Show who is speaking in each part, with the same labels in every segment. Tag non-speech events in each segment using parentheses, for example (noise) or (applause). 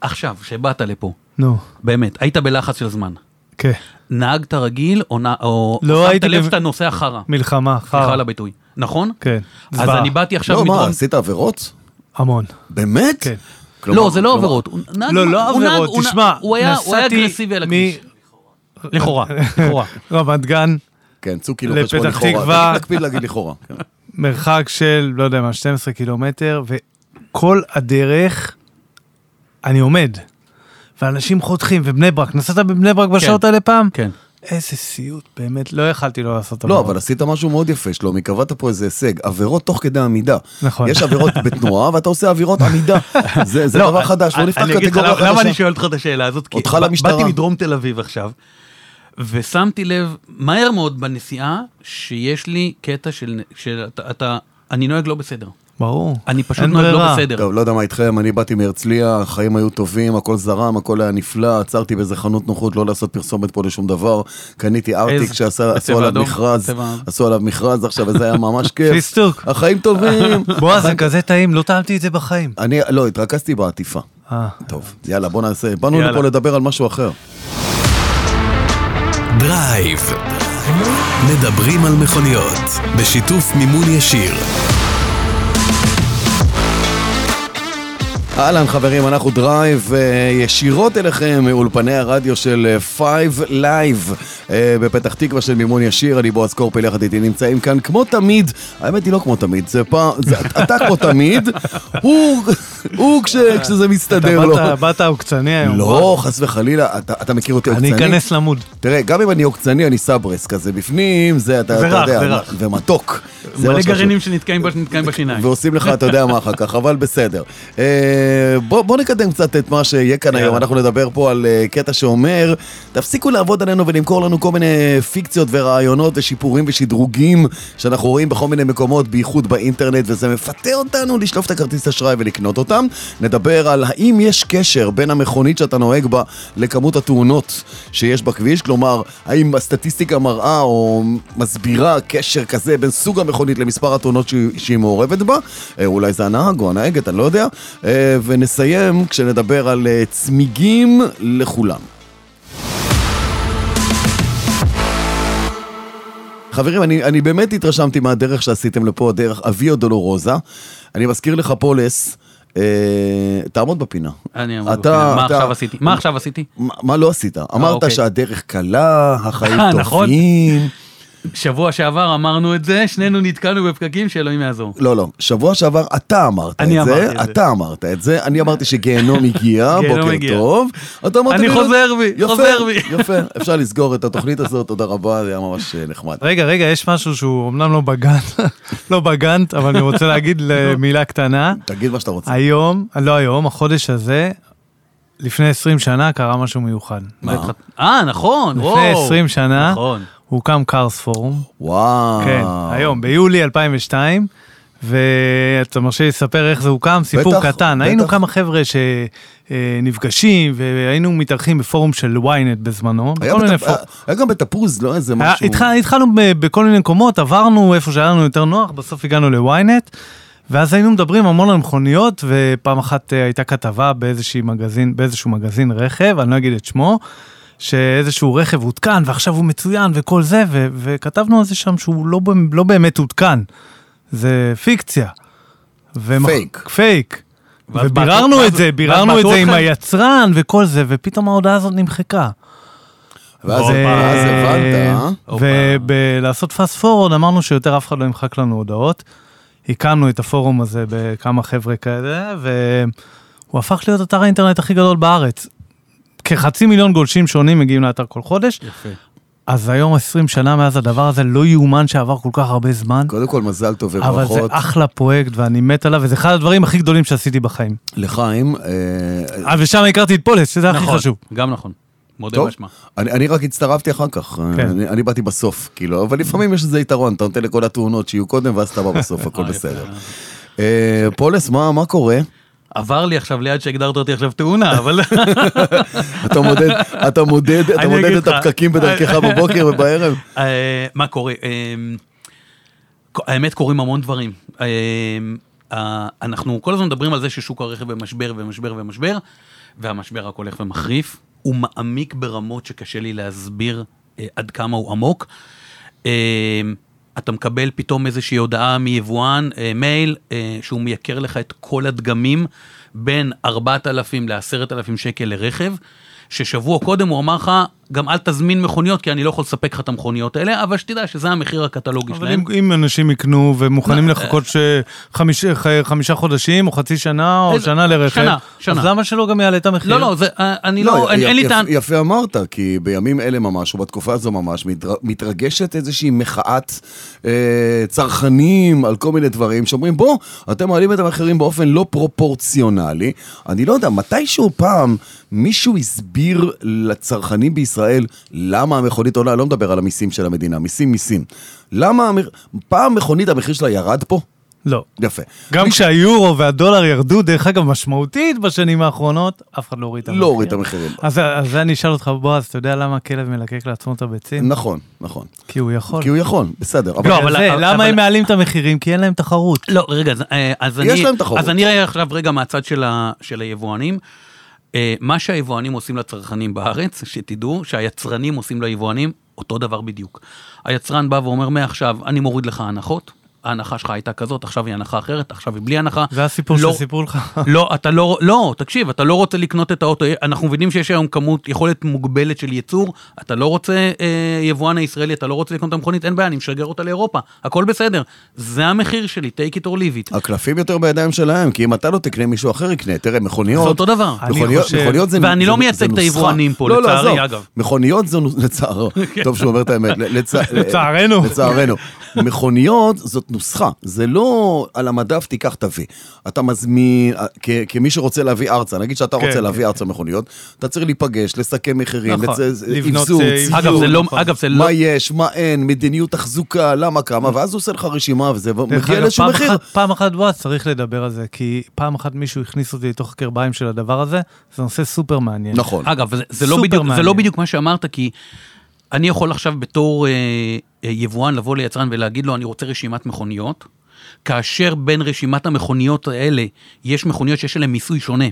Speaker 1: עכשיו, שבאת לפה,
Speaker 2: נו,
Speaker 1: באמת, היית בלחץ של זמן.
Speaker 2: כן.
Speaker 1: נהגת רגיל, או, נ- או
Speaker 2: לא
Speaker 1: או שמת
Speaker 2: הייתי
Speaker 1: לב
Speaker 2: בב-
Speaker 1: שאתה נוסע חרא.
Speaker 2: מלחמה,
Speaker 1: סליחה על
Speaker 2: חרא.
Speaker 1: הביטוי. נכון?
Speaker 2: כן.
Speaker 1: אז
Speaker 2: זוועה.
Speaker 1: אני באתי עכשיו
Speaker 3: לא, מה,
Speaker 1: מדרום.
Speaker 3: עשית עבירות?
Speaker 2: המון.
Speaker 3: באמת?
Speaker 2: כן.
Speaker 3: כלומר-
Speaker 1: לא, זה לא
Speaker 3: כלומר-
Speaker 1: עבירות. הוא נהג-
Speaker 2: לא, לא
Speaker 1: הוא נהג-
Speaker 2: עבירות,
Speaker 1: הוא נהג-
Speaker 2: תשמע,
Speaker 1: הוא היה הוא היה
Speaker 2: נסעתי
Speaker 1: אגרסיבי על
Speaker 2: מ-
Speaker 1: הכביש. (laughs) לכאורה, לכאורה.
Speaker 2: רמת גן,
Speaker 3: כן, צוקי לוחש פה
Speaker 2: לפתח
Speaker 3: לכאורה.
Speaker 2: תקווה.
Speaker 3: תקפיד להגיד
Speaker 1: (laughs)
Speaker 3: לכאורה. כן.
Speaker 2: מרחק של, לא יודע מה, 12 קילומטר, וכל הדרך אני עומד. ואנשים חותכים, ובני ברק, נסעת בבני ברק בשעות האלה פעם?
Speaker 1: כן.
Speaker 2: איזה סיוט, באמת, לא יכלתי לא לעשות
Speaker 3: לא,
Speaker 2: עבירות.
Speaker 3: אבל עשית משהו מאוד יפה, שלומי, קבעת פה איזה הישג, עבירות תוך כדי עמידה.
Speaker 2: נכון.
Speaker 1: (laughs)
Speaker 3: יש עבירות בתנועה ואתה עושה עבירות עמידה. זה זה דבר חדש, לא נפתח
Speaker 1: אני אגיד לך
Speaker 3: קטגוריה
Speaker 1: למה- למה אני
Speaker 3: חדשה.
Speaker 1: שואל אותך את השאלה הזאת? כי
Speaker 3: אותך
Speaker 1: ב-
Speaker 3: למשטרה.
Speaker 1: באתי מדרום תל אביב עכשיו, ושמתי לב מהר מאוד בנסיעה, שיש לי קטע של... של- אתה- אתה... אני נוהג לא בסדר.
Speaker 2: ברור.
Speaker 1: אני פשוט
Speaker 2: אין
Speaker 1: נוהג לא
Speaker 2: ברירה.
Speaker 1: בסדר.
Speaker 3: טוב, לא יודע מה איתכם, אני באתי מהרצליה, החיים היו טובים, הכל זרם, הכל היה נפלא, עצרתי באיזה חנות נוחות, לא לעשות פרסומת פה לשום דבר. קניתי ארטיק
Speaker 1: איזה?
Speaker 3: שעשו
Speaker 1: בצבע
Speaker 3: עליו
Speaker 1: אדום?
Speaker 3: מכרז,
Speaker 1: צבע-
Speaker 3: עשו עליו מכרז עכשיו, וזה היה ממש
Speaker 1: (laughs)
Speaker 3: כיף.
Speaker 2: פיסטוק.
Speaker 3: החיים טובים.
Speaker 2: בוא, זה כזה טעים, לא טעמתי את זה בחיים.
Speaker 3: אני, לא, התרכזתי בעטיפה.
Speaker 2: אה.
Speaker 3: טוב, יאללה, בוא נעשה, באנו
Speaker 1: יאללה.
Speaker 3: לפה לדבר על משהו אחר.
Speaker 4: דרייב. מדברים על מכוניות, בשיתוף מימון ישיר.
Speaker 3: אהלן חברים, אנחנו דרייב אה, ישירות אליכם מאולפני הרדיו של 5 Live אה, בפתח תקווה של מימון ישיר, אני בועז קורפל יחד איתי נמצאים כאן כמו תמיד, האמת היא לא כמו תמיד, זה פעם, זה, אתה כמו תמיד, הוא, הוא כש, כשזה
Speaker 2: אתה
Speaker 3: מסתדר לו.
Speaker 2: באת- באת עוקצני היום.
Speaker 3: לא, חס וחלילה, אתה, אתה מכיר אותי
Speaker 2: אני
Speaker 3: עוקצני?
Speaker 2: אכנס למוד.
Speaker 3: תראה, גם אם אני עוקצני, אני סברס כזה בפנים, זה אתה,
Speaker 2: זה
Speaker 3: אתה
Speaker 2: רך,
Speaker 3: יודע,
Speaker 2: זה רך.
Speaker 3: ומתוק. זה
Speaker 1: מלא
Speaker 3: מה שחשוב.
Speaker 1: גרעינים שנתקעים בש- נתקעים בשיניים.
Speaker 3: ועושים לך, אתה יודע מה אחר כך, אבל בסדר. אה, בוא, בוא נקדם קצת את מה שיהיה כאן היום, אנחנו נדבר פה על אה, קטע שאומר, תפסיקו לעבוד עלינו ולמכור לנו כל מיני פיקציות ורעיונות ושיפורים ושדרוגים שאנחנו רואים בכל מיני מקומות, בייחוד באינטרנט, וזה מפתה אותנו לשלוף את הכרטיס אשראי ולקנות אותם. נדבר על האם יש קשר בין המכונית שאתה נוהג בה לכמות התאונות שיש בכביש, כלומר, האם הסטטיסטיקה מראה או מסבירה קשר כזה בין סוג המכונית למספר התאונות שהיא- שהיא מעורבת בה, אה, אולי זה הנהג או הנהגת, אני לא יודע, אה, ונסיים כשנדבר על אה, צמיגים לכולם. חברים, אני, אני באמת התרשמתי מהדרך שעשיתם לפה, דרך אביו דולורוזה. אני מזכיר לך פולס, אה, תעמוד בפינה.
Speaker 1: אני אמור,
Speaker 3: אתה-
Speaker 1: מה
Speaker 3: אתה-
Speaker 1: עכשיו עשיתי? מה עכשיו עשיתי?
Speaker 3: מה, מה לא עשית? אמרת
Speaker 1: אוקיי.
Speaker 3: שהדרך קלה, החיים
Speaker 1: אה, נכון.
Speaker 3: טובים.
Speaker 1: שבוע שעבר אמרנו את זה, שנינו נתקענו בפקקים שאלוהים יעזור.
Speaker 3: לא, לא, שבוע שעבר אתה אמרת
Speaker 1: אני
Speaker 3: את זה,
Speaker 1: אמרתי את זה.
Speaker 3: אתה אמרת את זה, אני אמרתי שגיהנום הגיע,
Speaker 1: (laughs) גיהנום
Speaker 3: בוקר
Speaker 1: הגיע.
Speaker 3: טוב. אתה אמרת
Speaker 1: אני
Speaker 3: לי, לא-
Speaker 1: חוזר בי,
Speaker 3: יפה,
Speaker 1: חוזר בי.
Speaker 3: (laughs) יפה, אפשר לסגור את התוכנית הזאת, תודה רבה, זה היה ממש אה, נחמד.
Speaker 2: רגע, רגע, יש משהו שהוא אמנם לא בגאנט, (laughs) לא בגאנט, אבל אני רוצה להגיד מילה קטנה.
Speaker 3: תגיד מה שאתה
Speaker 1: אה,
Speaker 3: רוצה.
Speaker 2: היום, לא היום, החודש הזה, לפני 20 שנה קרה משהו מיוחד.
Speaker 1: מה? אה, נכון, וואו.
Speaker 2: לפני 20 שנה
Speaker 1: נכון.
Speaker 2: הוקם קארס פורום,
Speaker 3: וואו.
Speaker 2: כן, היום, ביולי 2002, ואתה מרשה לי לספר איך זה הוקם, סיפור
Speaker 3: בטח,
Speaker 2: קטן.
Speaker 3: בטח.
Speaker 2: היינו כמה חבר'ה שנפגשים, והיינו מתארחים בפורום של ynet בזמנו,
Speaker 3: היה
Speaker 2: בכל מיני
Speaker 3: בתפ-
Speaker 2: פור-
Speaker 3: היה גם בתפוז, לא
Speaker 1: אה,
Speaker 3: איזה
Speaker 2: היה-
Speaker 3: משהו.
Speaker 2: התחל- אה, התחלנו ב- בכל מיני מקומות, עברנו איפה שהיה לנו יותר נוח, בסוף הגענו לוויינט, ואז היינו מדברים המון על מכוניות, ופעם אחת אה, הייתה כתבה באיזשהו מגזין, באיזשהו מגזין רכב, אני לא אגיד את שמו, שאיזשהו רכב הותקן, ועכשיו הוא מצוין וכל זה, ו- וכתבנו על זה שם שהוא לא, במ- לא באמת הותקן, זה פיקציה. ומח-
Speaker 3: פייק.
Speaker 2: פייק.
Speaker 1: ואז
Speaker 2: וביררנו
Speaker 1: בעטו-
Speaker 2: את זה,
Speaker 1: ואז
Speaker 2: ביררנו את
Speaker 1: בעטו
Speaker 2: זה עם
Speaker 1: אתכם?
Speaker 2: היצרן וכל זה, ופתאום ההודעה הזאת נמחקה.
Speaker 3: ואז
Speaker 2: ו-
Speaker 3: ואז הבנת, אה?
Speaker 2: ובלעשות פאסט פורוד אמרנו שיותר אף אחד לא ימחק לנו הודעות. הקמנו את הפורום הזה בכמה חבר'ה כאלה, והוא הפך להיות אתר האינטרנט הכי גדול בארץ. כחצי מיליון גולשים שונים מגיעים לאתר כל חודש,
Speaker 1: יפה.
Speaker 2: אז היום 20 שנה מאז הדבר הזה, לא יאומן שעבר כל כך הרבה זמן,
Speaker 3: קודם כל מזל טוב
Speaker 2: אבל זה
Speaker 1: אה.
Speaker 3: וברכות
Speaker 2: אחלה פרויקט ואני מת עליו, וזה אחד הדברים הכי גדולים שעשיתי בחיים.
Speaker 3: לחיים. אה,
Speaker 2: אה, ושם הכרתי את פולס, שזה הכי
Speaker 1: נכון,
Speaker 2: חשוב.
Speaker 1: גם נכון. מודה
Speaker 3: טוב,
Speaker 1: באשמה.
Speaker 3: אני, אני רק הצטרפתי אחר כך,
Speaker 2: כן.
Speaker 3: אני, אני באתי בסוף, כאילו, אבל לפעמים יש איזה יתרון, אתה נותן לכל התאונות שיהיו קודם ואז אתה בא
Speaker 1: (laughs)
Speaker 3: בסוף, הכל
Speaker 1: אה, יפה.
Speaker 3: בסדר. אה, פולס, מה, מה קורה?
Speaker 1: עבר לי עכשיו ליד שהגדרת אותי עכשיו תאונה,
Speaker 3: (laughs)
Speaker 1: אבל
Speaker 3: אתה מודד, אתה מודד, אתה
Speaker 1: (laughs) אני
Speaker 3: מודד
Speaker 1: אגיד
Speaker 3: את
Speaker 1: לך.
Speaker 3: הפקקים בדרכך בבוקר ובערב?
Speaker 1: אה, מה קורה? אה, האמת קורים המון דברים. אה, אה, אנחנו כל הזמן מדברים על זה ששוק הרכב במשבר ומשבר ומשבר, והמשבר רק הולך ומחריף. הוא מעמיק ברמות שקשה לי להסביר אה, עד כמה הוא עמוק. אה, אתה מקבל פתאום איזושהי הודעה מיבואן, אה, מייל, אה, שהוא מייקר לך את כל הדגמים בין 4,000 ל-10,000 שקל לרכב, ששבוע קודם הוא אמר לך, גם אל תזמין מכוניות, כי אני לא יכול לספק לך את המכוניות האלה, אבל שתדע שזה המחיר הקטלוגי
Speaker 2: אבל
Speaker 1: שלהם.
Speaker 2: אם, אם אנשים יקנו
Speaker 1: לא,
Speaker 2: ומוכנים לחכות
Speaker 1: אה,
Speaker 2: ש... חמיש, ח, חמישה חודשים או חצי שנה או
Speaker 1: איזה-
Speaker 2: שנה לרכב,
Speaker 1: שנה, שנה.
Speaker 2: אז למה שלא גם יעלה את המחיר?
Speaker 1: לא,
Speaker 3: כן?
Speaker 1: לא, זה, אה, אני לא, אין,
Speaker 3: יפ-
Speaker 1: אין לי
Speaker 3: יפ-
Speaker 1: טען.
Speaker 3: יפה אמרת, כי בימים אלה ממש, או בתקופה הזו ממש, מתר- מתרגשת איזושהי מחאת אה, צרכנים על כל מיני דברים, שאומרים, בוא, אתם מעלים את המחירים באופן לא פרופורציונלי. אני לא יודע, מתישהו פעם מישהו הסביר לצרכנים בישראל למה המכונית עולה, אני לא מדבר על המיסים של המדינה, מיסים מיסים. למה, המח- פעם מכונית המחיר שלה ירד פה?
Speaker 2: לא.
Speaker 3: יפה.
Speaker 2: גם כשהיורו והדולר ירדו, דרך אגב, משמעותית בשנים האחרונות, אף אחד לא הוריד את המחיר.
Speaker 3: לא הוריד את המחירים.
Speaker 2: אז, אז אני אשאל אותך, בועז, אתה יודע למה הכלב מלקק לעצמו את הביצים?
Speaker 3: נכון, נכון. כי
Speaker 2: כי הוא יכול.
Speaker 3: הוא יכול, בסדר. אבל-
Speaker 2: כן. לא,
Speaker 1: אבל-
Speaker 2: אבל... זה,
Speaker 1: אבל-
Speaker 2: למה
Speaker 1: אבל-
Speaker 2: הם מעלים את המחירים? כי אין להם תחרות.
Speaker 1: לא, רגע, אז, אה, אז אני...
Speaker 3: יש להם תחרות.
Speaker 1: אז אני אראה עכשיו רגע מהצד של, ה, של היבואנים. אה, מה שהיבואנים עושים לצרכנים בארץ, שתדעו שהיצרנים עושים ליבואנים אותו דבר בדיוק. היצרן בא ואומר, מעכשיו אני מוריד לך הנחות, ההנחה שלך הייתה כזאת, עכשיו היא הנחה אחרת, עכשיו היא בלי הנחה.
Speaker 2: זה הסיפור
Speaker 1: לא-
Speaker 2: שסיפרו לך.
Speaker 1: לא, אתה לא, לא, תקשיב, אתה לא רוצה לקנות את האוטו, אנחנו מבינים שיש היום כמות, יכולת מוגבלת של ייצור, אתה לא רוצה, אה, יבואן הישראלי, אתה לא רוצה לקנות את המכונית, אין בעיה, אני משגר אותה לאירופה, הכל בסדר. זה המחיר שלי, take it or leave it.
Speaker 3: הקלפים יותר בידיים שלהם, כי אם אתה לא תקנה, מישהו אחר יקנה. תראה, מכוניות...
Speaker 1: זה אותו דבר.
Speaker 2: אני
Speaker 3: מכוניות,
Speaker 2: חושב-
Speaker 3: מכוניות זה...
Speaker 1: ואני
Speaker 3: זה-
Speaker 1: לא
Speaker 3: זה
Speaker 1: מייצג את
Speaker 3: נוסחה.
Speaker 1: היבואנים פה,
Speaker 3: לא, לא,
Speaker 1: לצערי,
Speaker 3: עזוב.
Speaker 1: אגב. כן.
Speaker 3: מכוניות זו... נוס-
Speaker 1: (laughs)
Speaker 3: לצערו. טוב שהוא אומר את האמת. ל- לצ-
Speaker 2: לצערנו.
Speaker 3: לצערנו. מכוניות זאת נוסחה. זה לא על המדף תיקח תביא. אתה מזמין... אה, כ- כמי שרוצה להביא ארצה, נגיד שאתה
Speaker 2: כן,
Speaker 3: רוצה
Speaker 2: כן,
Speaker 3: להביא ארצה מכוניות, אתה צריך להיפגש, לסכם מחירים,
Speaker 2: נכון.
Speaker 3: לצ-
Speaker 2: לבנות,
Speaker 3: אבזור,
Speaker 2: אה,
Speaker 3: ציוד.
Speaker 1: אגב, זה לא,
Speaker 2: נכון.
Speaker 1: אגב, זה לא,
Speaker 3: מה יש, מה אין, מדיניות תחזוקה, למה, כמה, ואז הוא עושה לך רשימה וזה,
Speaker 2: דרך
Speaker 3: ומגיע
Speaker 2: אגב,
Speaker 3: לאיזשהו
Speaker 2: פעם
Speaker 3: מחיר.
Speaker 2: אחת- פעם אחת, בועז, צריך לדבר על זה, כי פעם אחת מישהו הכניס אותי לתוך הקרביים של הדבר הזה, זה נושא סופר מעניין.
Speaker 3: נכון.
Speaker 1: אגב, זה, זה, לא
Speaker 2: סופר
Speaker 1: בדיוק, זה
Speaker 2: מעניין.
Speaker 1: לא בדיוק מה שאמרת, כי אני יכול עכשיו בתור אה, אה, יבואן לבוא ליצרן ולהגיד לו, אני רוצה רשימת מכוניות, כאשר בין רשימת המכוניות האלה יש מכוניות שיש להן מיסוי שונה.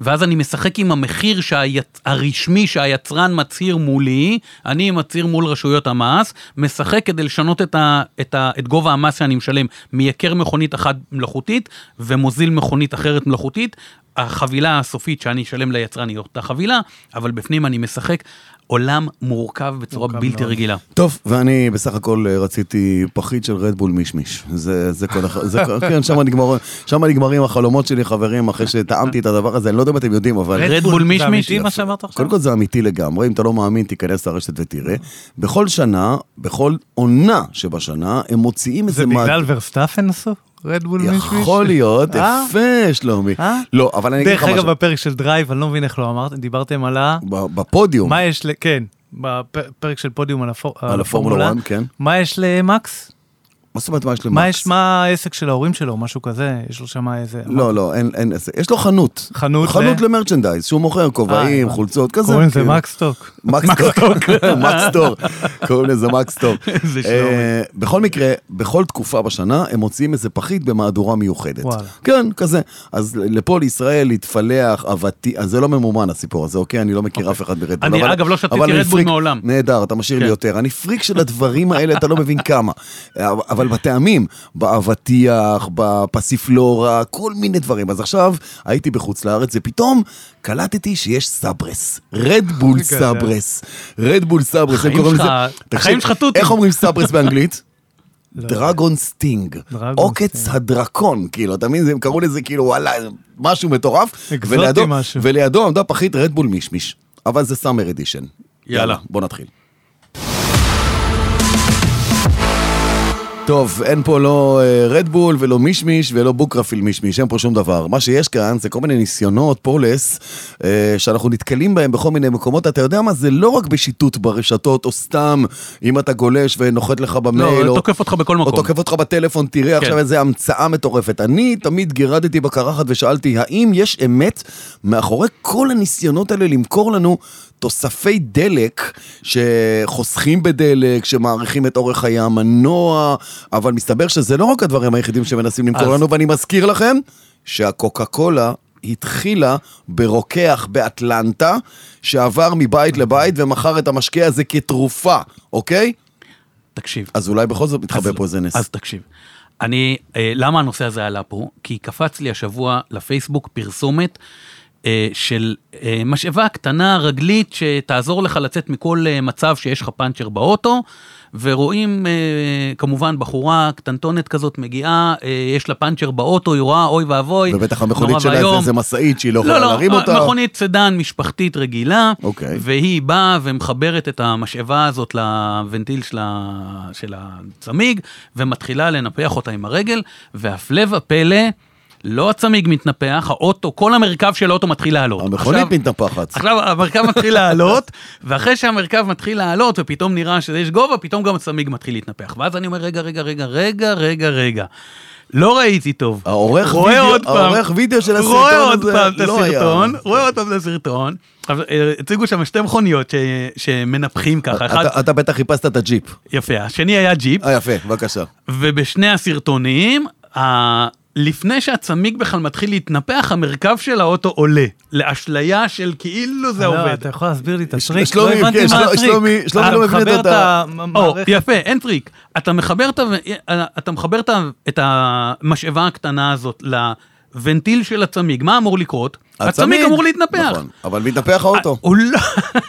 Speaker 1: ואז אני משחק עם המחיר שהיצ... הרשמי שהיצרן מצהיר מולי, אני מצהיר מול רשויות המס, משחק כדי לשנות את, ה... את, ה... את גובה המס שאני משלם, מייקר מכונית אחת מלאכותית ומוזיל מכונית אחרת מלאכותית, החבילה הסופית שאני אשלם ליצרן היא אותה חבילה, אבל בפנים אני משחק עולם מורכב בצורה
Speaker 2: מורכב
Speaker 1: בלתי
Speaker 2: מאוד.
Speaker 1: רגילה.
Speaker 3: טוב, ואני בסך הכל אה, רציתי פחית של רדבול מישמיש. זה, זה כל הח... זה, כל- כן, שם נגמר, שם נגמרים החלומות שלי, חברים, אחרי שטעמתי את הדבר הזה, אני לא יודע אם אתם יודעים, אבל...
Speaker 1: רד בול מישמיש?
Speaker 2: זה אמיתי מה שאמרת עכשיו?
Speaker 3: קודם כל זה אמיתי לגמרי, אם אתה לא מאמין, תיכנס לרשת ותראה. בכל שנה, בכל עונה שבשנה, הם מוציאים איזה...
Speaker 2: זה
Speaker 3: מה-
Speaker 2: בגלל ורסטאפן עשו? רדבול מישמיש?
Speaker 3: יכול להיות,
Speaker 2: אה?
Speaker 3: יפה, שלומי.
Speaker 2: אה?
Speaker 3: לא, אבל אני אגיד לך
Speaker 2: דרך אגב,
Speaker 3: משהו.
Speaker 2: בפרק של דרייב, אני לא מבין איך לא אמרתם, דיברתם על ה...
Speaker 3: ב- בפודיום.
Speaker 2: מה יש ל... כן, בפרק של פודיום על הפור-
Speaker 3: על
Speaker 2: על
Speaker 3: הפורמולה
Speaker 2: הפורמולה.
Speaker 3: 1, כן.
Speaker 2: מה יש למקס?
Speaker 3: מה זאת אומרת מה יש למקס?
Speaker 2: מה יש, מה העסק של ההורים שלו, משהו כזה? יש לו שם איזה...
Speaker 3: לא, לא, אין, אין, עסק. יש לו חנות.
Speaker 2: נכון? חנות ל-
Speaker 3: חנות למרצ'נדייז, שהוא מוכר כובעים,
Speaker 2: אה,
Speaker 3: חולצות, כזה.
Speaker 2: קוראים לזה
Speaker 3: כאילו.
Speaker 2: מקסטוק.
Speaker 3: מקסטוק, (laughs) מקסטוק, קוראים לזה מקסטוק.
Speaker 1: איזה שלומי.
Speaker 3: אה, בכל מקרה, בכל תקופה בשנה הם מוציאים איזה פחית במהדורה מיוחדת.
Speaker 2: וואלה.
Speaker 3: כן, כזה. אז לפה לישראל להתפלח, אבתי, אז זה לא ממומן הסיפור הזה, אוקיי? אני לא מכיר אף אחד ברדבול.
Speaker 1: אני,
Speaker 3: אבל-
Speaker 1: אגב, לא שתיתי
Speaker 3: אבל אני
Speaker 1: רדבול
Speaker 3: פריק-
Speaker 1: מעולם.
Speaker 3: נהדר, אתה משאיר לי
Speaker 1: כן.
Speaker 3: יותר. אני פריק של הדברים האלה, אתה לא מבין כמה. (laughs) אבל בטעמים, באבטיח, בפסיפלורה, כל מיני דברים. אז עכשיו הייתי בחוץ לארץ, ופתאום קלטתי שיש סברס. רדבול
Speaker 2: כזה.
Speaker 3: סברס. רדבול סברס, הם
Speaker 1: החיים
Speaker 3: קוראים לזה...
Speaker 1: שלך-
Speaker 3: תקשיב,
Speaker 1: החיים שלך תותים.
Speaker 3: איך אומרים סברס באנגלית?
Speaker 2: לא.
Speaker 3: דרגון סטינג,
Speaker 2: דרגון
Speaker 3: עוקץ
Speaker 2: סטינג.
Speaker 3: הדרקון, כאילו, אתה מבין, הם קראו לזה כאילו, וואלה, משהו מטורף,
Speaker 2: אקזוטי
Speaker 3: ולידו-
Speaker 2: משהו.
Speaker 3: ולידו עמדה פחית רדבול מישמיש, אבל זה סאמר אדישן.
Speaker 1: יאללה.
Speaker 3: בוא נתחיל. טוב, אין פה לא אה, רדבול ולא מישמיש ולא בוקרפיל מישמיש, אין פה שום דבר. מה שיש כאן זה כל מיני ניסיונות, פולס, אה, שאנחנו נתקלים בהם בכל מיני מקומות. אתה יודע מה? זה לא רק בשיטוט ברשתות, או סתם אם אתה גולש ונוחת לך במייל,
Speaker 1: לא,
Speaker 3: או,
Speaker 1: תוקף אותך בכל
Speaker 3: או
Speaker 1: מקום. כן.
Speaker 3: תוקף אותך בטלפון, תראה עכשיו איזה המצאה מטורפת. אני תמיד גירדתי בקרחת ושאלתי, האם יש אמת מאחורי כל הניסיונות האלה למכור לנו תוספי דלק שחוסכים בדלק, שמאריכים את אורך חיי המנוע, אבל מסתבר שזה לא רק הדברים היחידים שמנסים למכור
Speaker 1: אז-
Speaker 3: לנו, ואני מזכיר לכם שהקוקה קולה התחילה ברוקח באטלנטה, שעבר מבית לבית ומכר את המשקה הזה כתרופה, אוקיי?
Speaker 1: תקשיב.
Speaker 3: אז אולי בכל זאת מתחבא פה איזה נס.
Speaker 1: אז תקשיב. אני, אה, למה הנושא הזה עלה פה? כי קפץ לי השבוע לפייסבוק פרסומת אה, של אה, משאבה קטנה רגלית שתעזור לך לצאת מכל אה, מצב שיש לך פאנצ'ר באוטו, ורואים אה, כמובן בחורה קטנטונת כזאת מגיעה, אה, יש לה פאנצ'ר באוטו, היא רואה אוי ואבוי,
Speaker 3: ובטח
Speaker 1: נורא
Speaker 3: המכונית שלה זה
Speaker 1: ואיום."
Speaker 3: איזה משאית שהיא לא יכולה להרים
Speaker 1: אה,
Speaker 3: אותה.
Speaker 1: מכונית סדן משפחתית רגילה,
Speaker 3: אוקיי.
Speaker 1: והיא באה ומחברת את המשאבה הזאת לוונטיל של, ה... של הצמיג, ומתחילה לנפח אותה עם הרגל, והפלא ופלא, לא הצמיג מתנפח, האוטו, כל המרכב של האוטו מתחיל לעלות.
Speaker 3: המכונית
Speaker 1: עכשיו-
Speaker 3: מתנפחת.
Speaker 1: עכשיו המרכב מתחיל לעלות, ואחרי שהמרכב מתחיל לעלות ופתאום נראה שיש גובה, פתאום גם הצמיג מתחיל להתנפח. ואז אני אומר, רגע, רגע, רגע, רגע, רגע, רגע. לא ראיתי טוב.
Speaker 3: העורך
Speaker 1: רואה
Speaker 3: וידאו-
Speaker 1: עוד פעם.
Speaker 3: העורך וידאו של הסרטון
Speaker 1: רואה עוד
Speaker 3: הזה
Speaker 1: פעם את
Speaker 3: לא היה.
Speaker 1: הסרטון, רואה עוד פעם את הסרטון. אבל, אה, הציגו שם שתי מכוניות ש- שמנפחים ככה, אחד,
Speaker 3: אה, אתה- אתה בטח חיפשת את הג'יפ.
Speaker 1: יפה, השני היה ג'יפ,
Speaker 3: אה, יפה, בבקשה.
Speaker 1: ובשני הסרטונים, ה- לפני שהצמיג בכלל מתחיל להתנפח, המרכב של האוטו עולה. לאשליה של כאילו זה
Speaker 2: לא,
Speaker 1: עובד.
Speaker 2: אתה יכול להסביר לי את הטריק? לא
Speaker 3: שלומי,
Speaker 2: הבנתי
Speaker 3: כן,
Speaker 2: מה
Speaker 3: של-
Speaker 2: הטריק.
Speaker 3: שלומי- שלומי
Speaker 2: אתה
Speaker 3: לא מבין את
Speaker 2: מחבר
Speaker 3: ה-
Speaker 1: או,
Speaker 2: המערכת.
Speaker 1: יפה, אין טריק. אתה מחבר, את, ה- אתה מחבר את, ה- את המשאבה הקטנה הזאת לוונטיל של הצמיג, מה אמור לקרות? הצמיג אמור להתנפח.
Speaker 3: נכון, אבל מתנפח האוטו.
Speaker 1: הוא לא... (laughs)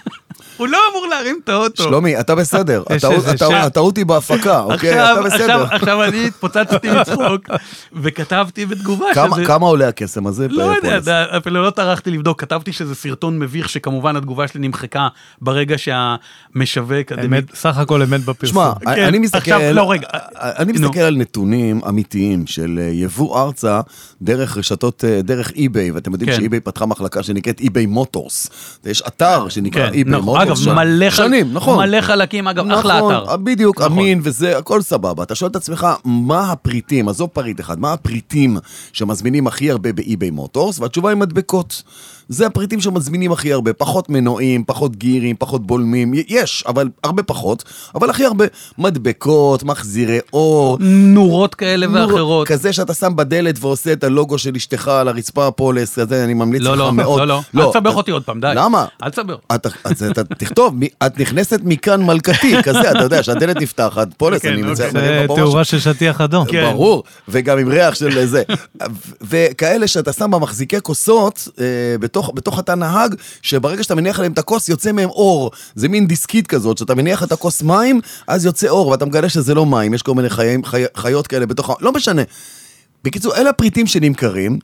Speaker 1: הוא לא אמור להרים את האוטו.
Speaker 3: שלומי, אתה בסדר.
Speaker 2: יש
Speaker 3: הטעות-
Speaker 2: איזה
Speaker 3: הטעות-
Speaker 2: שם.
Speaker 3: הטעות היא בהפקה, אוקיי? אתה
Speaker 1: עכשיו, עכשיו,
Speaker 3: בסדר.
Speaker 1: עכשיו אני התפוצצתי מצחוק,
Speaker 3: (laughs)
Speaker 1: וכתבתי בתגובה
Speaker 3: כמה-
Speaker 1: שזה...
Speaker 3: כמה עולה הקסם הזה?
Speaker 1: לא יודע,
Speaker 3: בפוליס?
Speaker 1: אתה- אפילו לא טרחתי לבדוק, כתבתי שזה סרטון מביך, שכמובן התגובה שלי נמחקה ברגע שהמשווק...
Speaker 2: אמת, סך הכל אמת
Speaker 3: שמע,
Speaker 2: בפרסום.
Speaker 1: כן,
Speaker 3: אני מסתכל,
Speaker 1: עכשיו, לא, רגע,
Speaker 3: אני
Speaker 1: נו.
Speaker 3: מסתכל על נתונים אמיתיים של אה, יבוא ארצה דרך רשתות, אה, דרך אי-ביי, ואתם יודעים
Speaker 1: כן.
Speaker 3: שאי-ביי פתחה מחלקה שנקראת אי-ביי מוטורס. יש אתר שנקרא
Speaker 1: כן,
Speaker 3: אי-ביי
Speaker 1: נכון, אגב,
Speaker 3: מוטורס. שם.
Speaker 1: מלא, חל...
Speaker 3: שנים, נכון.
Speaker 1: מלא חלקים, אגב, אחלה
Speaker 3: נכון,
Speaker 1: אתר.
Speaker 3: בדיוק,
Speaker 1: נכון.
Speaker 3: אמין וזה, הכל סבבה. אתה שואל את עצמך, מה הפריטים, עזוב פריט אחד, מה הפריטים שמזמינים הכי הרבה באי-ביי מוטורס? והתשובה היא מדבקות. זה הפריטים שמזמינים הכי הרבה, פחות מנועים, פחות גירים, פחות בולמים, י- יש, אבל הרבה פחות, אבל הכי הרבה מדבקות, מחזירי אור.
Speaker 1: נורות כאלה ואחרות.
Speaker 3: כזה שאתה שם בדלת ועושה את הלוגו של אשתך על הרצפה הפולס, כזה, אני ממליץ
Speaker 1: לא,
Speaker 3: לך
Speaker 1: לא,
Speaker 3: מאוד.
Speaker 1: לא, לא, אל תסבך
Speaker 3: אתה-
Speaker 1: אותי עוד פעם, די.
Speaker 3: למה?
Speaker 1: אל תסבך.
Speaker 3: את, אז אתה תכתוב, מי- את נכנסת מכאן מלכתי, כזה, אתה יודע, שהדלת נפתחת, פולס,
Speaker 1: כן,
Speaker 3: אני
Speaker 1: אוקיי.
Speaker 3: מצייר
Speaker 2: זה
Speaker 3: בראש.
Speaker 2: תאורה של שטיח אדום.
Speaker 1: כן.
Speaker 3: ברור, וגם עם ריח של זה. ו- וכאלה שאתה שם במחזיקי כוסות, אה, בתוך, בתוך התא נהג, שברגע שאתה מניח עליהם את הכוס, יוצא מהם אור. זה מין דיסקית כזאת, שאתה מניח את הכוס מים, אז יוצא אור, ואתה מגלה שזה לא מים, יש כל מיני חיים, חי, חיות כאלה בתוך ה... לא משנה. בקיצור, אלה הפריטים שנמכרים,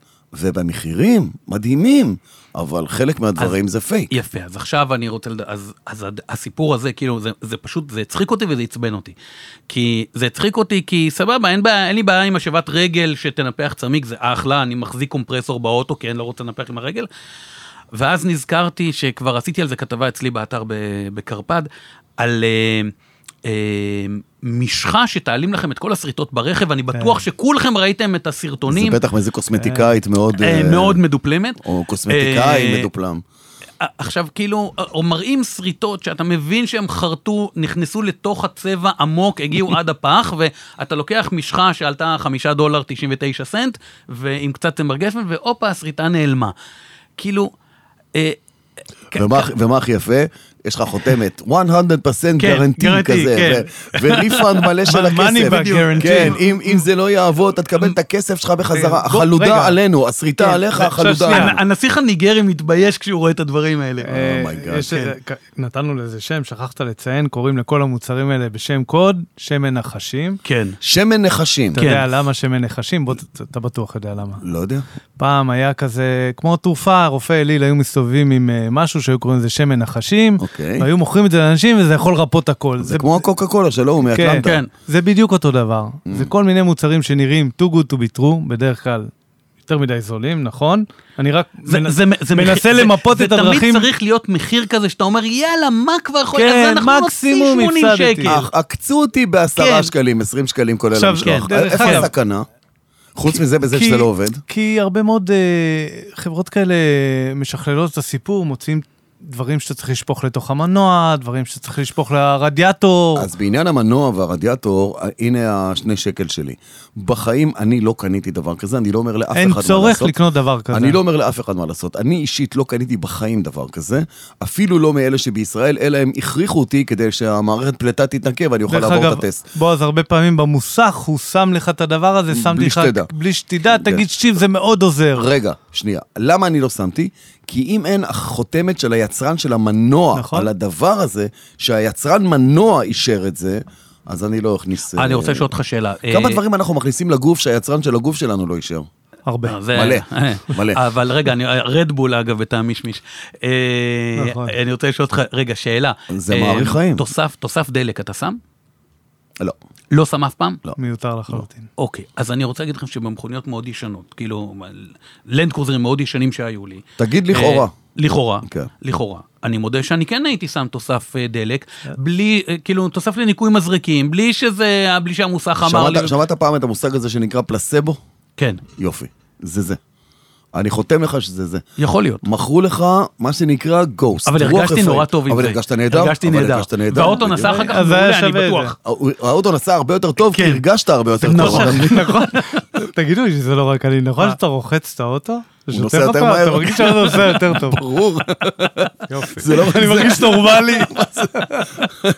Speaker 3: ובמחירים מדהימים, אבל חלק מהדברים זה פייק.
Speaker 1: יפה, אז עכשיו אני רוצה לדעת, אז, אז הד- הסיפור הזה, כאילו, זה, זה פשוט, זה הצחיק אותי וזה עצבן אותי. כי זה הצחיק אותי, כי סבבה, אין, בעיה, אין לי בעיה עם השבת רגל שתנפח צמיג, זה אחלה, אני מחזיק קומפרסור באוטו, כי אני לא רוצה לנפח עם הרגל. ואז נזכרתי שכבר עשיתי על זה כתבה אצלי באתר ב- בקרפד, על אה, אה, משחה שתעלים לכם את כל השריטות ברכב, אני בטוח שכולכם ראיתם את
Speaker 3: כן. זה
Speaker 1: הסרטונים,
Speaker 3: בטח מאיזה קוסמטיקאית מאוד...
Speaker 1: אה,
Speaker 3: אה,
Speaker 1: מאוד מדופלמת.
Speaker 3: או קוסמטיקאי
Speaker 1: אה,
Speaker 3: מדופלם.
Speaker 1: עכשיו כאילו, או מראים שריטות שאתה מבין שהם חרטו, נכנסו לתוך הצבע עמוק, הגיעו עד הפח, (laughs) ואתה לוקח משחה שעלתה חמישה דולר 99 סנט, ועם קצת צמר גפן, והופה, השריטה נעלמה. כאילו, אה,
Speaker 2: כן,
Speaker 1: כ-
Speaker 3: ומה,
Speaker 1: כ-
Speaker 3: ומה הכי יפה? יש לך חותמת 100%
Speaker 1: כן,
Speaker 3: גרנטי
Speaker 1: guarantee,
Speaker 3: כזה, ו- וריפאנד
Speaker 2: (laughs)
Speaker 3: מלא של
Speaker 2: Money
Speaker 3: הכסף.
Speaker 2: back guarantee. אה,
Speaker 3: כן, אם, אם זה לא יעבוד, אתה תקבל את הכסף שלך בחזרה.
Speaker 2: בוא, רגע.
Speaker 3: החלודה עלינו,
Speaker 2: כן,
Speaker 3: השריטה עליך,
Speaker 2: עכשיו
Speaker 3: החלודה
Speaker 2: שנייה,
Speaker 3: עלינו.
Speaker 1: הנ- הנסיך הניגרי מתבייש כשהוא רואה את הדברים האלה.
Speaker 2: כן. אה,
Speaker 3: אומייגאד,
Speaker 2: יש איזה- כ- נתנו לזה שם, שכחת לציין, קוראים לכל המוצרים האלה בשם קוד, שמן נחשים.
Speaker 1: כן.
Speaker 3: שמן נחשים.
Speaker 2: אתה
Speaker 1: כן.
Speaker 2: יודע למה שמן נחשים? בוא, ת- אתה בטוח יודע למה.
Speaker 3: לא יודע.
Speaker 2: פעם היה כזה, כמו תרופה, רופא אליל היו מסתובבים עם אה, משהו שהיו קוראים לזה שמן נחשים,
Speaker 3: אוקיי.
Speaker 2: והיו מוכרים את זה לאנשים וזה יכול לרפות הכל.
Speaker 3: זה כמו הקוקה קולה שלו, הוא
Speaker 2: כן,
Speaker 3: מאטלנטה.
Speaker 2: כן. זה בדיוק אותו דבר.
Speaker 3: Mm.
Speaker 2: זה כל מיני מוצרים שנראים too good to be true, בדרך כלל יותר מדי זולים, נכון? אני רק
Speaker 1: זה-
Speaker 2: מנ-
Speaker 1: זה- זה מחיר-
Speaker 2: מנסה
Speaker 1: זה-
Speaker 2: למפות את
Speaker 1: זה תמיד
Speaker 2: הדרכים.
Speaker 1: צריך להיות מחיר כזה שאתה אומר, יאללה, מה כבר יכול להיות?
Speaker 2: כן,
Speaker 1: אז אנחנו נוציא
Speaker 2: מקסימום
Speaker 1: 80
Speaker 2: הפסדתי.
Speaker 1: שקל.
Speaker 3: אך, עקצו אותי בעשרה
Speaker 1: כן.
Speaker 3: שקלים, 20 שקלים כולל
Speaker 2: עכשיו,
Speaker 3: המשלוח.
Speaker 2: כן, דרך
Speaker 3: איפה
Speaker 2: אגב.
Speaker 3: הסכנה? חוץ מזה, בזה
Speaker 2: כי-
Speaker 3: שזה לא עובד.
Speaker 2: כי הרבה מאוד אה, חברות כאלה משכללות את הסיפור, מוציאים דברים שאתה צריך לשפוך לתוך המנוע, דברים שאתה צריך לשפוך לרדיאטור.
Speaker 3: אז בעניין המנוע והרדיאטור, אה, הנה השני שקל שלי. בחיים אני לא קניתי דבר כזה, אני לא אומר לאף אחד מה
Speaker 2: אין
Speaker 3: לעשות.
Speaker 2: צורך לקנות דבר כזה.
Speaker 3: אני לא אומר לאף אחד מה לעשות. אני אישית לא קניתי בחיים דבר כזה, אפילו לא מאלה שבישראל, אלא הם הכריחו אותי כדי שהמערכת פלטה תתנקה ואני אוכל
Speaker 2: דרך
Speaker 3: לעבור את
Speaker 2: אגב,
Speaker 3: הטסט.
Speaker 2: בועז, הרבה פעמים במוסך הוא שם לך את הדבר הזה, שמתי לך...
Speaker 3: שתדע. כן.
Speaker 2: בלי שתדע, תגיד שתיב, זה מאוד עוזר.
Speaker 3: רגע, שנייה. למה אני לא שמתי? כי אם אין החותמת של היצרן של המנוע
Speaker 2: נכון.
Speaker 3: על הדבר הזה, שהיצרן מנוע אישר את זה, אז אני לא אכניס...
Speaker 1: אני
Speaker 3: אה,
Speaker 1: רוצה לשאול אותך שאלה.
Speaker 3: כמה
Speaker 1: אה,
Speaker 3: דברים אנחנו מכניסים לגוף שהיצרן של הגוף שלנו לא אישר?
Speaker 2: הרבה.
Speaker 3: (laughs)
Speaker 1: אה, זה- (laughs)
Speaker 3: מלא, מלא.
Speaker 1: אבל רגע, אני- רדבול אגב, את המישמיש. אה,
Speaker 2: נכון.
Speaker 1: אני רוצה לשאול אותך, רגע, שאלה.
Speaker 3: זה
Speaker 1: אה,
Speaker 3: מאריך חיים.
Speaker 1: תוסף- תוסף דלק אתה שם?
Speaker 3: לא.
Speaker 1: לא שם אף פעם?
Speaker 3: לא.
Speaker 2: מיותר לחלוטין.
Speaker 1: אוקיי, אז אני רוצה להגיד לכם שבמכוניות מאוד ישנות, כאילו, לנד קרוזרים מאוד ישנים שהיו לי.
Speaker 3: תגיד לכאורה.
Speaker 1: אה, לכאורה,
Speaker 3: כן.
Speaker 1: לכאורה. אני מודה שאני כן הייתי שם תוסף אה, דלק, בלי, אה, כאילו, תוסף לניקוי מזרקים, בלי שזה, בלי שהמוסך אמר לי...
Speaker 3: שמעת, שמעת פעם את המושג הזה שנקרא פלסבו?
Speaker 1: כן,
Speaker 3: יופי, זה זה. אני חותם לך שזה זה.
Speaker 1: יכול להיות.
Speaker 3: מכרו לך מה שנקרא גוסט.
Speaker 1: אבל הרגשתי נורא טוב עם זה.
Speaker 3: אבל הרגשת נהדר.
Speaker 1: הרגשתי
Speaker 3: אבל
Speaker 1: נהדר.
Speaker 3: הרגשת נהדר.
Speaker 1: והאוטו
Speaker 3: בדיוק.
Speaker 1: נסע אחר כך
Speaker 2: אז היה
Speaker 1: מעולה, אני
Speaker 2: שווה את
Speaker 1: בטוח. לא
Speaker 3: הא- האוטו נסע הרבה יותר טוב, כי
Speaker 1: כן.
Speaker 3: הרגשת הרבה יותר טוב.
Speaker 2: נכון, (laughs)
Speaker 3: אבל-
Speaker 2: נכון.
Speaker 1: (laughs)
Speaker 2: תגידו לי שזה לא רק אני, נכון שאתה רוחץ את האוטו? זה
Speaker 3: נוסע
Speaker 2: שוטף
Speaker 3: יותר
Speaker 2: הפעם,
Speaker 3: מהר.
Speaker 2: אתה מרגיש שהאוטו נוסע יותר
Speaker 3: (laughs)
Speaker 2: טוב.
Speaker 3: ברור,
Speaker 2: יופי.
Speaker 3: זה לא
Speaker 2: אני
Speaker 3: (laughs)
Speaker 2: מרגיש נורמלי.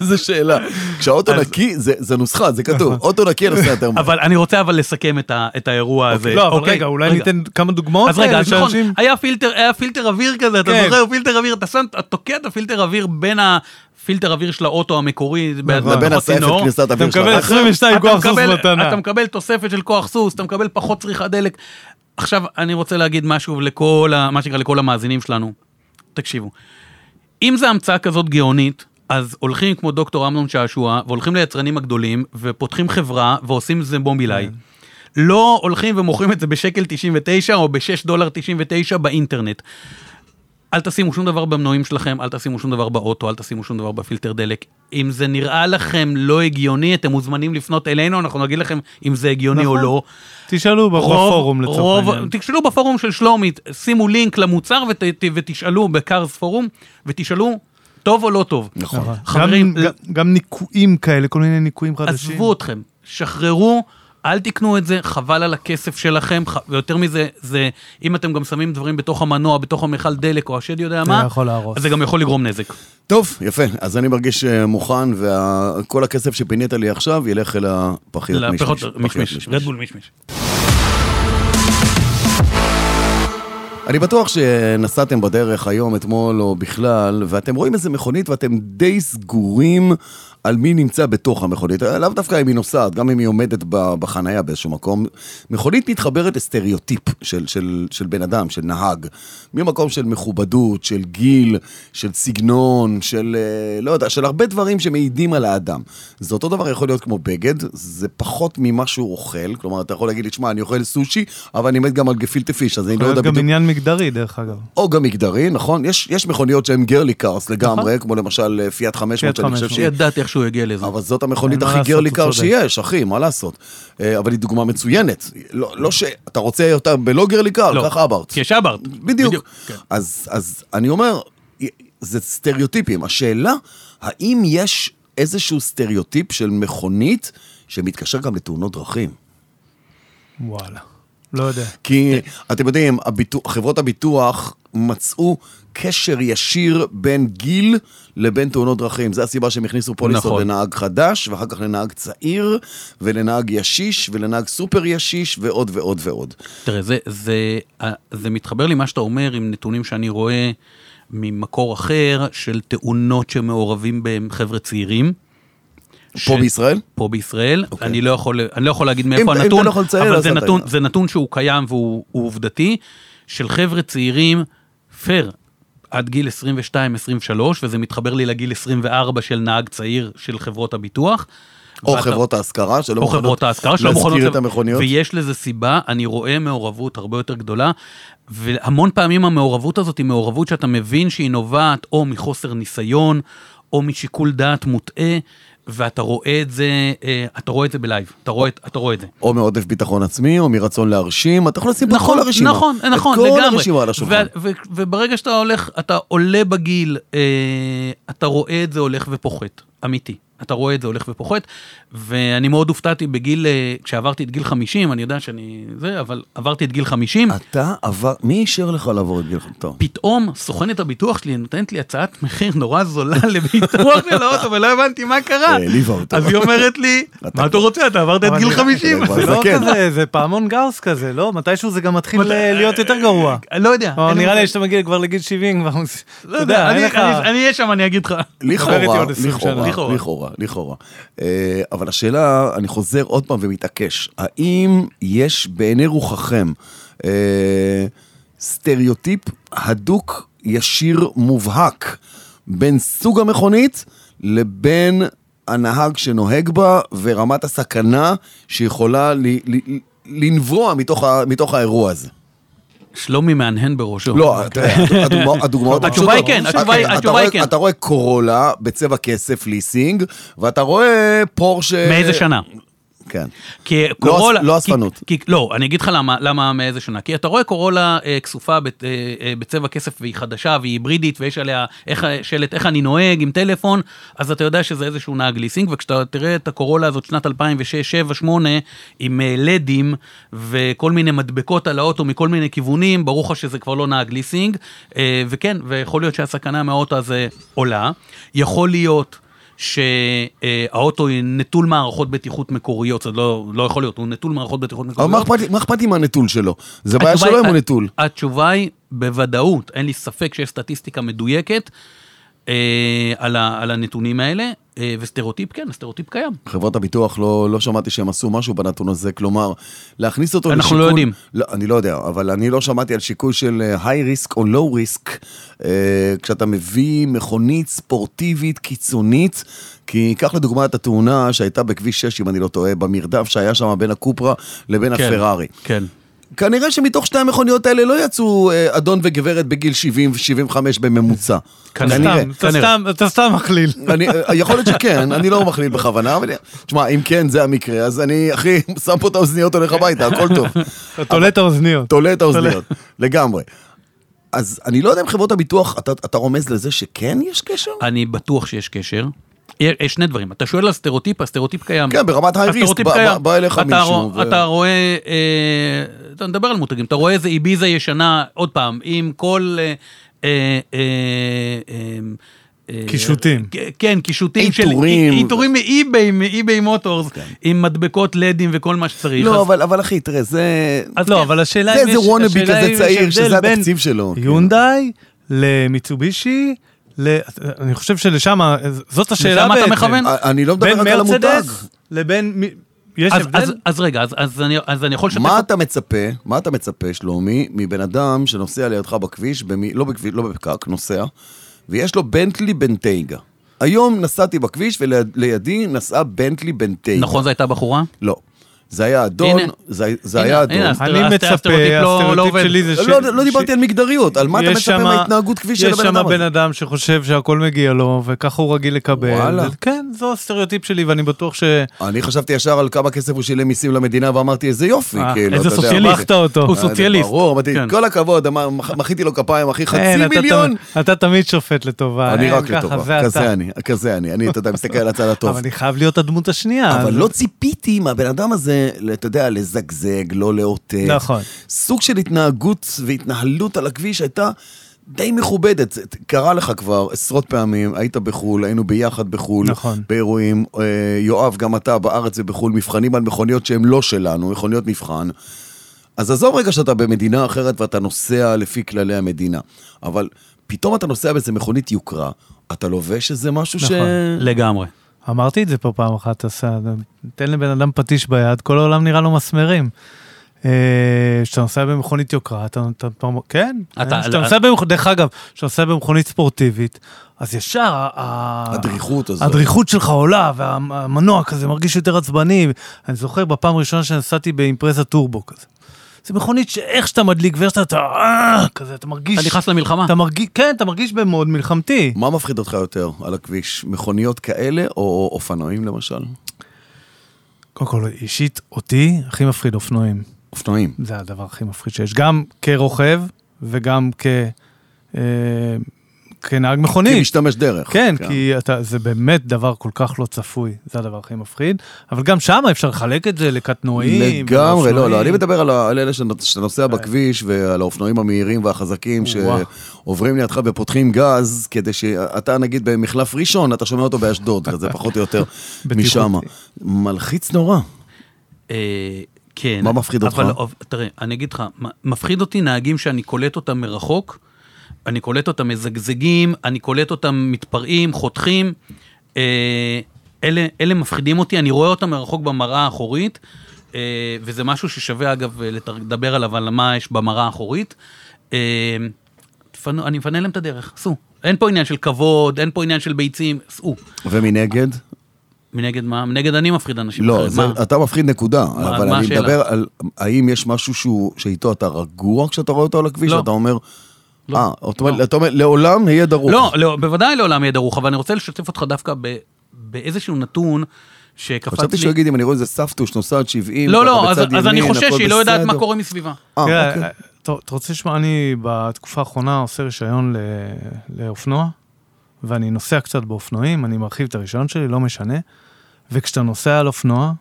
Speaker 3: איזה שאלה. כשהאוטו נקי, זה זה נוסחה, זה כתוב.
Speaker 1: נכון.
Speaker 3: אוטו נקי נוסע
Speaker 1: (laughs)
Speaker 3: יותר מהר.
Speaker 1: אבל אני רוצה אבל לסכם את ה- את האירוע הזה.
Speaker 3: אה,
Speaker 2: לא, אבל
Speaker 1: אוקיי,
Speaker 2: רגע, אולי ניתן כמה דוגמאות
Speaker 1: אז רגע,
Speaker 2: כאלה
Speaker 1: אז נכון,
Speaker 2: שאנשים-
Speaker 1: היה פילטר, היה פילטר אוויר כזה, אתה
Speaker 2: כן.
Speaker 1: זוכר, פילטר אוויר, אתה שם, אתה תוקע את הפילטר אוויר בין הפילטר אוויר של האוטו המקורי,
Speaker 3: נכון. לבין הסעפת כניסת
Speaker 2: אתה
Speaker 3: אוויר שלך.
Speaker 2: מקבל 22
Speaker 1: אתה
Speaker 2: כוח סוס
Speaker 1: מקבל,
Speaker 2: מתנה.
Speaker 1: אתה מקבל תוספת של כוח סוס, אתה מקבל פחות צריכת דלק. עכשיו, אני רוצה להגיד משהו לכל, ה- מה שנקרא, לכל המאזינים שלנו. תקשיבו, אם זו המצאה כזאת גאונית, אז הולכים כמו דוקטור אמנון שעשוע, והולכים ליצרנים הגדולים, ופותחים חברה, ועושים זה מובילאיי.
Speaker 2: כן.
Speaker 1: לא הולכים ומוכרים את זה בשקל 99 או ב-6 דולר 99 באינטרנט. אל תשימו שום דבר במנועים שלכם, אל תשימו שום דבר באוטו, אל תשימו שום דבר בפילטר דלק. אם זה נראה לכם לא הגיוני, אתם מוזמנים לפנות אלינו, אנחנו נגיד לכם אם זה הגיוני
Speaker 2: נכון.
Speaker 1: או לא.
Speaker 2: תשאלו בפורום לצורך
Speaker 1: רוב-
Speaker 2: העניין.
Speaker 1: תשאלו בפורום של שלומי, שימו לינק למוצר ות, ת, ותשאלו בקארס פורום, ותשאלו, טוב או לא טוב.
Speaker 3: נכון.
Speaker 1: חברים, אה-
Speaker 2: גם- גם- גם ניקויים כאלה, כל מיני ניקויים חדשים.
Speaker 1: עזבו אתכם, שחררו, אל תקנו את זה, חבל על הכסף שלכם, ח- ויותר מזה, זה אם אתם גם שמים דברים בתוך המנוע, בתוך המכל דלק או השד יודע מה,
Speaker 2: יכול להרוס.
Speaker 1: אז זה גם יכול לגרום נזק.
Speaker 3: טוב, יפה. אז אני מרגיש אה, מוכן, וכל הכסף שפינית לי עכשיו ילך אל הפחיות
Speaker 1: לפחות
Speaker 3: מישמיש. פחיות
Speaker 1: מישמיש, רדבול מישמיש.
Speaker 3: אני בטוח שנסעתם בדרך היום, אתמול או בכלל, ואתם רואים איזה מכונית ואתם די סגורים על מי נמצא בתוך המכונית. לאו דווקא אם היא נוסעת, גם אם היא עומדת ב- בחנייה באיזשהו מקום. מכונית מתחברת לסטריאוטיפ של, של, של בן אדם, של נהג. ממקום של מכובדות, של גיל, של סגנון, של אה, לא יודע, של הרבה דברים שמעידים על האדם. זה אותו דבר יכול להיות כמו בגד, זה פחות ממה שהוא אוכל. כלומר, אתה יכול להגיד לי, שמע, אני אוכל סושי, אבל אני מת גם על גפילטע פיש, אז אני לא
Speaker 2: יכול
Speaker 3: יודע
Speaker 2: להיות
Speaker 3: בדיוק...
Speaker 2: גם עניין מגדרי, דרך אגב.
Speaker 3: או גם מגדרי, נכון? יש, יש מכוניות שהן גרלי קארס לגמרי, כמו למשל אה, פיאט 500,
Speaker 2: נכון. פיאט
Speaker 3: שאני חושב
Speaker 2: 500.
Speaker 3: שהיא...
Speaker 1: ידעתי איך שהוא יגיע לזה.
Speaker 3: אבל זאת המכונית
Speaker 2: אין מה
Speaker 3: הכי
Speaker 2: לעשות,
Speaker 3: גרלי
Speaker 2: הוא
Speaker 3: קאר
Speaker 2: צודק.
Speaker 3: שיש, אחי, מה לעשות? אה, אבל היא דוגמה מצוינת. לא, לא ש... אתה רוצה אותה בלא גרלי קאר,
Speaker 1: לא,
Speaker 3: קח אברט.
Speaker 1: כי יש אברט.
Speaker 3: בדיוק.
Speaker 1: כן.
Speaker 3: אז, אז אני אומר, זה סטריאוטיפים. השאלה, האם יש איזשהו סטריאוטיפ של מכונית שמתקשר גם לתאונות דרכים?
Speaker 2: וואלה. לא יודע.
Speaker 3: כי אתם יודעים, הביטוח, חברות הביטוח מצאו קשר ישיר בין גיל לבין תאונות דרכים. זו הסיבה שהם הכניסו פוליסות
Speaker 1: נכון.
Speaker 3: לנהג חדש, ואחר כך לנהג צעיר, ולנהג ישיש, ולנהג סופר ישיש, ועוד ועוד ועוד.
Speaker 1: תראה, זה, זה, אה, זה מתחבר לי מה שאתה אומר עם נתונים שאני רואה ממקור אחר של תאונות שמעורבים בהם חבר'ה צעירים. ש-
Speaker 3: פה בישראל?
Speaker 1: פה בישראל, okay. אני, לא יכול, אני לא יכול להגיד
Speaker 3: אוקיי. אם
Speaker 1: מאיפה
Speaker 3: אתה- אם
Speaker 1: הנתון,
Speaker 3: אתה לא יכול לצייר,
Speaker 1: אבל
Speaker 3: אז
Speaker 1: זה
Speaker 3: אתה-
Speaker 1: נתון, זה נתון שהוא קיים והוא הוא עובדתי, של חבר'ה צעירים, פייר, עד גיל 22-23, וזה מתחבר לי לגיל 24 של נהג צעיר של חברות הביטוח.
Speaker 3: או
Speaker 1: ואתה-
Speaker 3: חברות ההשכרה, שלא
Speaker 1: או חברות ההשכרה שלא מוכנות
Speaker 3: להזכיר את
Speaker 1: לב-
Speaker 3: המכוניות.
Speaker 1: ויש לזה סיבה, אני רואה מעורבות הרבה יותר גדולה, והמון פעמים המעורבות הזאת היא מעורבות שאתה מבין שהיא נובעת או מחוסר ניסיון, או משיקול דעת מוטעה, ואתה רואה את זה, אה, אתה רואה את זה בלייב, אתה רואה את- אתה רואה את זה.
Speaker 3: או מעודף ביטחון עצמי, או מרצון להרשים, אתה יכול לשים פה את כל הרשימה.
Speaker 1: נכון, נכון,
Speaker 3: את
Speaker 1: לגמרי.
Speaker 3: כל הרשימה על השולחן.
Speaker 1: ו- ו- וברגע שאתה הולך, אתה עולה בגיל, אה, אתה רואה את זה הולך ופוחת, אמיתי. אתה רואה את זה הולך ופוחת, ואני מאוד הופתעתי בגיל, אה, כשעברתי את גיל 50, אני יודע שאני זה, אבל עברתי את גיל 50,
Speaker 3: אתה עבר, מי אישר לך לעבור את גיל חמש? טוב.
Speaker 1: פתאום סוכנת הביטוח שלי נותנת לי הצעת מחיר נורא זולה (laughs) לביטוח של האוטו, ולא הבנתי מה קרה.
Speaker 3: אה, העליבה אותו.
Speaker 1: אז היא אומרת לי, מה אתה רוצה, אתה עברת את
Speaker 2: אבל
Speaker 1: גיל
Speaker 2: נראה-
Speaker 1: 50.
Speaker 3: כבר
Speaker 1: (laughs)
Speaker 2: זה לא
Speaker 3: זקן.
Speaker 2: כזה, זה פעמון גאוס כזה, לא? מתישהו זה גם מתחיל
Speaker 1: מת-
Speaker 2: ל- להיות יותר גרוע.
Speaker 1: לא יודע.
Speaker 2: או
Speaker 1: אין לי
Speaker 2: נראה
Speaker 1: מושג.
Speaker 2: לי שאתה מגיע כבר לגיל 70, כבר...
Speaker 1: לא יודע, לא, אני- אני אני אהיה שם, אני אגיד לך.
Speaker 2: דבר איתי
Speaker 3: לכאורה,
Speaker 2: עוד 20 שנה.
Speaker 3: לכאורה,
Speaker 1: לכאורה.
Speaker 3: לכאורה, לכאורה. אה, אבל השאלה, אני חוזר עוד פעם ומתעקש, האם יש בעיני רוחכם אה, סטריאוטיפ הדוק, ישיר, מובהק, בין סוג המכונית לבין הנהג שנוהג בה ורמת הסכנה שיכולה ל- ל- לנבוע מתוך ה- מתוך האירוע הזה?
Speaker 1: שלומי מהנהן בראשו.
Speaker 3: לא, אתה יודע,
Speaker 1: (laughs)
Speaker 3: הדוגמא- הדוגמאות
Speaker 1: אוקיי. התשובה היא
Speaker 3: הפשוטות.
Speaker 1: כן, התשובה היא-
Speaker 3: אתה- אתה
Speaker 1: התשובה היא
Speaker 3: רואה-
Speaker 1: כן.
Speaker 3: אתה רואה קורולה בצבע כסף ליסינג, ואתה רואה פורשה...
Speaker 1: מאיזה שנה?
Speaker 3: כן.
Speaker 1: כי קורולה...
Speaker 3: אה, לא
Speaker 1: כי-
Speaker 3: אספנות.
Speaker 1: כי- לא, אני אגיד לך למה- למה מאיזה שנה. כי אתה רואה קורולה אה, כסופה בת- אה, אה, בצבע כסף והיא חדשה והיא היברידית ויש עליה איך- שלט איך אני נוהג עם טלפון, אז אתה יודע שזה איזשהו נהג ליסינג, וכשאתה תראה את הקורולה הזאת שנת 2006, 7, 8, עם אה, לדים וכל מיני מדבקות על האוטו מכל מיני כיוונים, ברור לך שזה כבר לא נהג ליסינג, אה, וכן, ויכול להיות שהסכנה מהאוטו הזה עולה. יכול להיות... שהאוטו נטול מערכות בטיחות מקוריות, זה לא, לא יכול להיות, הוא נטול מערכות בטיחות
Speaker 3: אבל מה
Speaker 1: מקוריות.
Speaker 3: אכפת לי- מה אכפת לי מהנטול שלו? זה בעיה
Speaker 1: לא, התשובה
Speaker 3: שלו אם
Speaker 1: היא-
Speaker 3: הוא נטול.
Speaker 1: התשובה היא בוודאות, אין לי ספק שיש סטטיסטיקה מדויקת אה, על, ה, על הנתונים האלה, אה, וסטריאוטיפ כן, סטריאוטיפ קיים.
Speaker 3: חברות הביטוח, לא, לא שמעתי שהם עשו משהו בנתון הזה, כלומר, להכניס אותו
Speaker 1: אנחנו
Speaker 3: לשיקול...
Speaker 1: לא יודעים.
Speaker 3: לא, אני לא יודע, אבל אני לא שמעתי על שיקול של היי ריסק או לואו ריסק, כשאתה מביא מכונית ספורטיבית קיצונית, כי קח לדוגמה את התאונה שהייתה בכביש 6, אם אני לא טועה, במרדף שהיה שם בין הקופרה לבין
Speaker 1: כן,
Speaker 3: הפרארי.
Speaker 1: כן.
Speaker 3: כנראה שמתוך שתי המכוניות האלה לא יצאו אה, אדון וגברת בגיל 70 ו-75 בממוצע. כנראה.
Speaker 2: סתם, אתה סתם- אתה סתם מכליל.
Speaker 3: אני, יכול להיות שכן, אני לא מכליל בכוונה, אבל תשמע, אם כן זה המקרה, אז אני, אחי, שם פה את האוזניות, הולך הביתה, הכל טוב.
Speaker 2: אתה תולה את האוזניות.
Speaker 3: תולה את האוזניות, לגמרי. אז אני לא יודע אם חברות הביטוח, אתה, אתה רומז לזה שכן יש קשר?
Speaker 1: אני בטוח שיש קשר. יש שני דברים, אתה שואל על סטריאוטיפ, הסטריאוטיפ קיים.
Speaker 3: כן, ברמת הייריסט,
Speaker 1: הסטריאוטיפ
Speaker 3: בא, בא,
Speaker 1: קיים.
Speaker 3: בא אליך
Speaker 1: אתה
Speaker 3: מישהו.
Speaker 1: רוא- אתה רואה, אה, אתה נדבר על מותגים, אתה רואה איזה איביזה ישנה, עוד פעם, עם כל... אה, אה, אה, אה,
Speaker 2: קישוטים.
Speaker 1: כ- כן, קישוטים של...
Speaker 3: עיטורים. כן.
Speaker 1: אי- עיטורים מאי-ביי, מאי-ביי מוטורס, עם מדבקות לדים וכל מה שצריך.
Speaker 3: לא,
Speaker 1: אז-
Speaker 3: אבל, אבל אחי, תראה, זה...
Speaker 1: אז
Speaker 2: לא,
Speaker 1: כן.
Speaker 2: אבל השאלה
Speaker 3: זה
Speaker 2: אם יש...
Speaker 3: איזה וואנאבי
Speaker 2: השאלה
Speaker 3: כזה
Speaker 2: אם יש
Speaker 3: צעיר,
Speaker 2: הבדל
Speaker 3: שזה
Speaker 2: בין
Speaker 3: התקציב שלו, כאילו.
Speaker 2: יונדאי למיצובישי, ל- אני חושב שלשם, ה- זאת השאלה
Speaker 1: לשם אתה
Speaker 2: בעצם.
Speaker 1: מכוון?
Speaker 3: אני לא מדבר
Speaker 2: בין
Speaker 3: רק על המותג.
Speaker 2: מרצדס לבין... מ- יש
Speaker 1: אז- אז-
Speaker 2: הבדל?
Speaker 1: אז רגע, אז- אז אני- אז אני יכול לשתף...
Speaker 3: מה
Speaker 1: אותך-
Speaker 3: אתה מצפה, מה אתה מצפה, שלומי, מבן אדם שנוסע לידך בכביש, במי, לא בכביש, לא בפקק, נוסע, ויש לו בנטלי בנטייגה. היום נסעתי בכביש ולידי נסעה בנטלי בנטייגה.
Speaker 1: נכון, זו הייתה בחורה?
Speaker 3: לא. זה היה אדון,
Speaker 1: הנה.
Speaker 3: זה, זה
Speaker 1: הנה,
Speaker 3: היה
Speaker 1: הנה,
Speaker 3: אדון.
Speaker 1: אז-
Speaker 2: אני
Speaker 1: הסטריאוטיפ
Speaker 2: מצפה,
Speaker 1: לא- לא
Speaker 2: הסטריאוטיפ
Speaker 1: עובד.
Speaker 2: שלי זה
Speaker 3: לא, לא, לא דיברתי על מגדריות, על מה אתה
Speaker 2: יש
Speaker 3: מצפה
Speaker 2: שמה-
Speaker 3: מההתנהגות כביש של הבן
Speaker 2: יש
Speaker 3: אדם
Speaker 2: שם בן
Speaker 3: הזה.
Speaker 2: אדם שחושב שהכל מגיע לו, וככה הוא רגיל לקבל.
Speaker 3: וואלה.
Speaker 2: וואלה. כן, זו הסטריאוטיפ שלי, ואני בטוח ש...
Speaker 3: אני חשבתי ישר על כמה כסף הוא שילם מיסים למדינה, ואמרתי, איזה יופי,
Speaker 1: אה,
Speaker 3: כאילו,
Speaker 2: איזה
Speaker 3: אתה יודע,
Speaker 2: סוציאליסט.
Speaker 3: מה
Speaker 2: הפכת אותו.
Speaker 1: הוא
Speaker 3: זה? אה, זה
Speaker 1: סוציאליסט.
Speaker 3: ברור, אמרתי,
Speaker 1: כן.
Speaker 3: כל הכבוד, אמר- מח- מחאתי לו כפיים, אחי,
Speaker 2: אין,
Speaker 3: חצי
Speaker 2: אתה
Speaker 3: מיליון.
Speaker 2: תמ- אתה תמיד שופט לטובה. אה,
Speaker 3: אני
Speaker 2: אין,
Speaker 3: רק
Speaker 2: ככה,
Speaker 3: לטובה,
Speaker 2: זה
Speaker 3: כזה
Speaker 2: אתה.
Speaker 3: אני, כזה אני, אני, אתה יודע, מסתכל על הצד הטוב.
Speaker 2: אבל אני חייב להיות הדמות השנייה.
Speaker 3: אבל
Speaker 2: אז-
Speaker 3: לא ציפיתי מהבן אדם הזה, אתה יודע, לזגזג, לא לאותת.
Speaker 2: נכון.
Speaker 3: סוג של התנהגות והתנהלות על הכביש הייתה די מכובדת. זה קרה לך כבר עשרות פעמים, היית בחו"ל, היינו ביחד בחו"ל,
Speaker 2: נכון.
Speaker 3: באירועים. אה, יואב, גם אתה בארץ ובחו"ל, מבחנים על מכוניות שהן לא שלנו, מכוניות מבחן. אז עזוב רגע שאתה במדינה אחרת ואתה נוסע לפי כללי המדינה, אבל פתאום אתה נוסע באיזה מכונית יוקרה, אתה לובש איזה משהו ש...
Speaker 2: נכון.
Speaker 1: לגמרי.
Speaker 2: אמרתי את זה פה פעם אחת, עשה, תן לבן אדם פטיש ביד, כל העולם נראה לו מסמרים. אה, כשאתה נוסע במכונית יוקרה, אתה, אתה, אתה כן,
Speaker 1: אתה- אה,
Speaker 2: כשאתה נוסע במכונית, דרך אגב, כשאתה נוסע במכונית ספורטיבית, אז ישר, ה- ה-
Speaker 3: הדריכות הזאת.
Speaker 2: הדריכות שלך עולה, והמנוע כזה מרגיש יותר עצבני. אני זוכר בפעם הראשונה שנסעתי באימפרזה טורבו כזה. זה מכונית שאיך שאתה מדליק ואיך שאתה, אתה, אה, כזה, אתה מרגיש,
Speaker 1: אתה נכנס למלחמה.
Speaker 2: אתה מרגיש, כן, אתה מרגיש במוד מלחמתי.
Speaker 3: מה מפחיד אותך יותר על הכביש? מכוניות כאלה או אופנועים למשל?
Speaker 2: קודם כל, אישית, אותי הכי מפחיד אופנועים.
Speaker 3: אופנועים.
Speaker 2: זה הדבר הכי מפחיד שיש, גם כרוכב וגם כ... אה, כנהג
Speaker 3: כי
Speaker 2: מכונית.
Speaker 3: משתמש דרך.
Speaker 2: כן, כי אתה, זה באמת דבר כל כך לא צפוי, זה הדבר הכי מפחיד, אבל גם שם אפשר לחלק את זה לקטנועים.
Speaker 3: לגמרי, לא, לא,
Speaker 2: לאופנועים.
Speaker 3: אני מדבר על ה- על אלה שנות- שאתה נוסע בכביש ועל האופנועים המהירים והחזקים
Speaker 2: אה. וואו.
Speaker 3: שעוברים לידך ופותחים גז, כדי שאתה נגיד במחלף ראשון, אתה שומע אותו באשדוד, זה פחות או
Speaker 2: (laughs)
Speaker 3: יותר משם. מלחיץ נורא.
Speaker 1: אה, כן.
Speaker 3: מה מפחיד אותך?
Speaker 1: אבל אבל, תראה, אני אגיד לך, מה- מפחיד אותי נהגים שאני קולט אותם מרחוק, אני קולט אותם מזגזגים, אני קולט אותם מתפרעים, חותכים. אה, אלה, אלה מפחידים אותי, אני רואה אותם מרחוק במראה האחורית, אה, וזה משהו ששווה אגב לתר- לדבר עליו, על מה יש במראה האחורית. אה, תפנו, אני מפנה להם את הדרך, סעו. אין פה עניין של כבוד, אין פה עניין של ביצים, סעו.
Speaker 3: ומנגד?
Speaker 1: מנגד מה? מנגד אני מפחיד אנשים.
Speaker 3: לא,
Speaker 1: אחרת,
Speaker 3: זה,
Speaker 1: כאילו, מה?
Speaker 3: אתה מפחיד נקודה,
Speaker 1: מה-
Speaker 3: אבל
Speaker 1: מה
Speaker 3: אני
Speaker 1: השאלה?
Speaker 3: מדבר על האם יש משהו שהוא, שאיתו אתה רגוע כשאתה רואה אותו על הכביש,
Speaker 1: לא.
Speaker 3: אתה אומר,
Speaker 1: לא.
Speaker 3: אה, אתה אומר- אתה אומר, לעולם נהיה דרוך.
Speaker 1: לא, לא, בוודאי לעולם יהיה דרוך, אבל אני רוצה לשתף אותך דווקא ב, באיזשהו נתון שקפץ לי.
Speaker 3: חשבתי שהוא יגיד, אם אני רואה איזה סבתוש נוסעת 70,
Speaker 1: לא,
Speaker 3: ככה
Speaker 1: לא, אז,
Speaker 3: בצד
Speaker 1: אז אני
Speaker 3: ימין,
Speaker 1: חושש
Speaker 3: הכל
Speaker 1: שהיא לא יודעת
Speaker 3: בסדר.
Speaker 1: מה קורה מסביבה.
Speaker 3: אה,
Speaker 2: תראה,
Speaker 3: אוקיי.
Speaker 2: אתה אתה רוצה לשמוע, אני בתקופה האחרונה עושה רישיון ל- לאופנוע, ואני נוסע קצת באופנועים, אני מרחיב את הרישיון שלי, לא משנה, וכשאתה נוסע על אופנוע,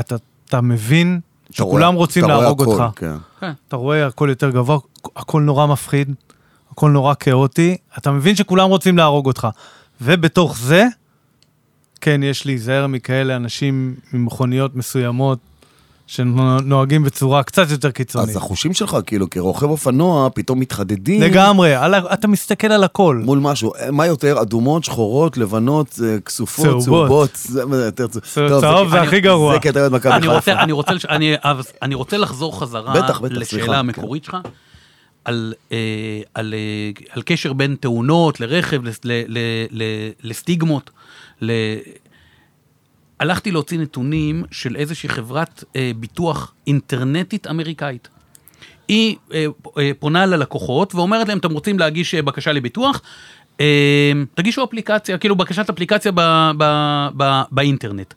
Speaker 2: אתה, אתה מבין
Speaker 3: אתה רואה-
Speaker 2: שכולם רוצים
Speaker 3: אתה רואה
Speaker 2: להרוג
Speaker 3: הכל,
Speaker 2: אותך.
Speaker 3: כן.
Speaker 2: אתה רואה הכל יותר גבוה, הכל נורא מפחיד, הכל נורא כאוטי, אתה מבין שכולם רוצים להרוג אותך. ובתוך זה, כן, יש להיזהר מכאלה אנשים עם מכוניות מסוימות שנוהגים בצורה קצת יותר קיצונית.
Speaker 3: אז החושים שלך, כאילו, כרוכב אופנוע, פתאום מתחדדים.
Speaker 2: לגמרי, על, ה- אתה מסתכל על הכל.
Speaker 3: מול משהו, אה, מה יותר, אדומות, שחורות, לבנות, אה, כסופות,
Speaker 2: צהובות.
Speaker 3: צהובות, זה מה זה יותר צהוב.
Speaker 2: צהוב
Speaker 3: טוב,
Speaker 2: צהוב זה
Speaker 1: אני-
Speaker 2: הכי גרוע.
Speaker 3: זה קטע מכבי
Speaker 1: אני
Speaker 3: חיפה.
Speaker 1: רוצה, אני רוצה, לש- אני, אז, אני רוצה לחזור חזרה
Speaker 3: בטח, בטח,
Speaker 1: לשאלה
Speaker 3: סליחה, כן.
Speaker 1: המקורית שלך, על, אה, על, אה, על קשר בין תאונות לרכב, לס- ל, ל, ל, לסטיגמות. ל... הלכתי להוציא נתונים של איזושהי חברת אה, ביטוח אינטרנטית אמריקאית. היא אה, פ- אה, פונה ללקוחות ואומרת להם, אתם רוצים להגיש אה, בקשה לביטוח? אה, תגישו אפליקציה, כאילו בקשת אפליקציה ב, ב, ב, באינטרנט.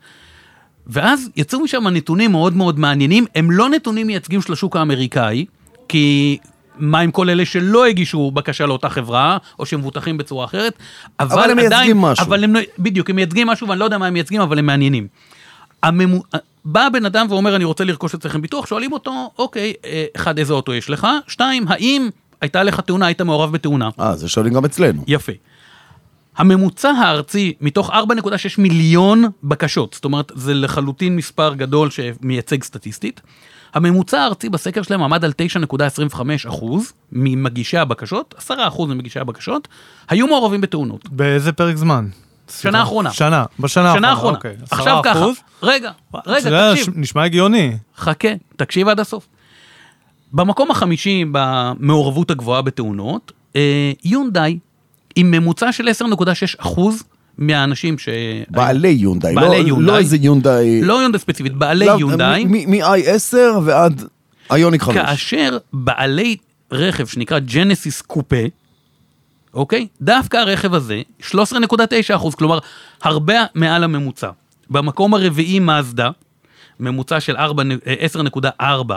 Speaker 1: ואז יצאו משם נתונים מאוד מאוד מעניינים, הם לא נתונים מייצגים של השוק האמריקאי, כי מה עם כל אלה שלא הגישו בקשה לאותה חברה, או שמבוטחים בצורה אחרת, אבל,
Speaker 3: אבל הם
Speaker 1: עדיין,
Speaker 3: מייצגים משהו.
Speaker 1: אבל הם, לא- בדיוק, הם מייצגים משהו ואני לא יודע מה הם מייצגים, אבל הם מעניינים. הממו... בא הבן אדם ואומר, אני רוצה לרכוש אצלכם ביטוח, שואלים אותו, אוקיי, אה, אחד, איזה אוטו יש לך? שתיים, האם הייתה לך תאונה, היית מעורב בתאונה?
Speaker 3: אה, זה שואלים גם אצלנו.
Speaker 1: יפה. הממוצע הארצי מתוך 4.6 מיליון בקשות, זאת אומרת זה לחלוטין מספר גדול שמייצג סטטיסטית, הממוצע הארצי בסקר שלהם עמד על 9.25 אחוז ממגישי הבקשות, 10 אחוז ממגישי הבקשות, היו מעורבים בתאונות.
Speaker 2: באיזה פרק זמן? סליחה.
Speaker 1: האחרונה.
Speaker 2: שנה, בשנה
Speaker 1: שנה האחרונה.
Speaker 2: האחרונה. אוקיי, עשרה
Speaker 1: עכשיו ככה,
Speaker 2: אחוז.
Speaker 1: רגע,
Speaker 2: זה
Speaker 1: רגע,
Speaker 2: היה
Speaker 1: תקשיב.
Speaker 2: ש- נשמע הגיוני.
Speaker 1: חכה, תקשיב עד הסוף. במקום החמישי במעורבות הגבוהה בתאונות, אה, יונדאי עם ממוצע של 10.6 אחוז מהאנשים ש...
Speaker 3: בעלי יונדאי,
Speaker 1: בעלי
Speaker 3: לא-
Speaker 1: יונדאי.
Speaker 3: לא איזה יונדאי.
Speaker 1: לא יונדאי ספציפית, בעלי
Speaker 3: לא,
Speaker 1: יונדאי,
Speaker 3: מ- מ- מ-i10 ועד איוניק 5.
Speaker 1: כאשר בעלי רכב שנקרא ג'נסיס קופה, אוקיי? דווקא הרכב הזה, 13.9 אחוז, כלומר, הרבה מעל הממוצע. במקום הרביעי מזדה, ממוצע של 4, נ- אה, 10.4,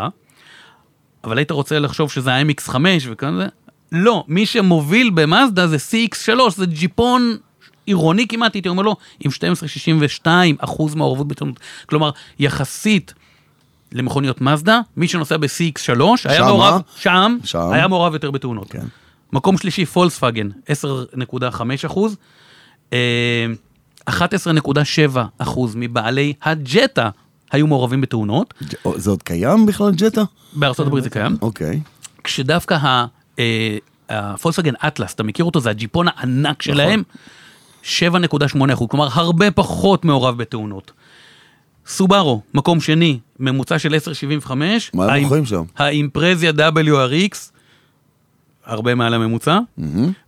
Speaker 1: אבל היית רוצה לחשוב שזה ה-MX5 וכאלה, לא, מי שמוביל במאזדה זה CX3, זה ג'יפון עירוני כמעט, הייתי אומר לו, עם 12.62 אחוז מעורבות בתאונות. כלומר, יחסית למכוניות מאזדה, מי שנוסע ב-CX3, היה
Speaker 3: שמה?
Speaker 1: מעורב, שם,
Speaker 3: אה? שם.
Speaker 1: היה מעורב יותר בתאונות.
Speaker 3: כן.
Speaker 1: מקום שלישי, פולקסווגן, 10.5 אחוז. אה, 11.7 אחוז מבעלי הג'טה היו מעורבים בתאונות,
Speaker 3: זה עוד קיים בכלל, ג'טה?
Speaker 1: בארצות הברית זה קיים,
Speaker 3: אוקיי.
Speaker 1: כשדווקא ה- אה, הפולקסווגן אטלס, אתה מכיר אותו? זה הג'יפון הענק
Speaker 3: נכון.
Speaker 1: שלהם, 7.8 אחוז, כלומר הרבה פחות מעורב בתאונות. סובארו, מקום שני, ממוצע של 10.75.
Speaker 3: מה הם
Speaker 1: האימ-
Speaker 3: מוכרים שם?
Speaker 1: האימפרזיה WRX, הרבה מעל הממוצע.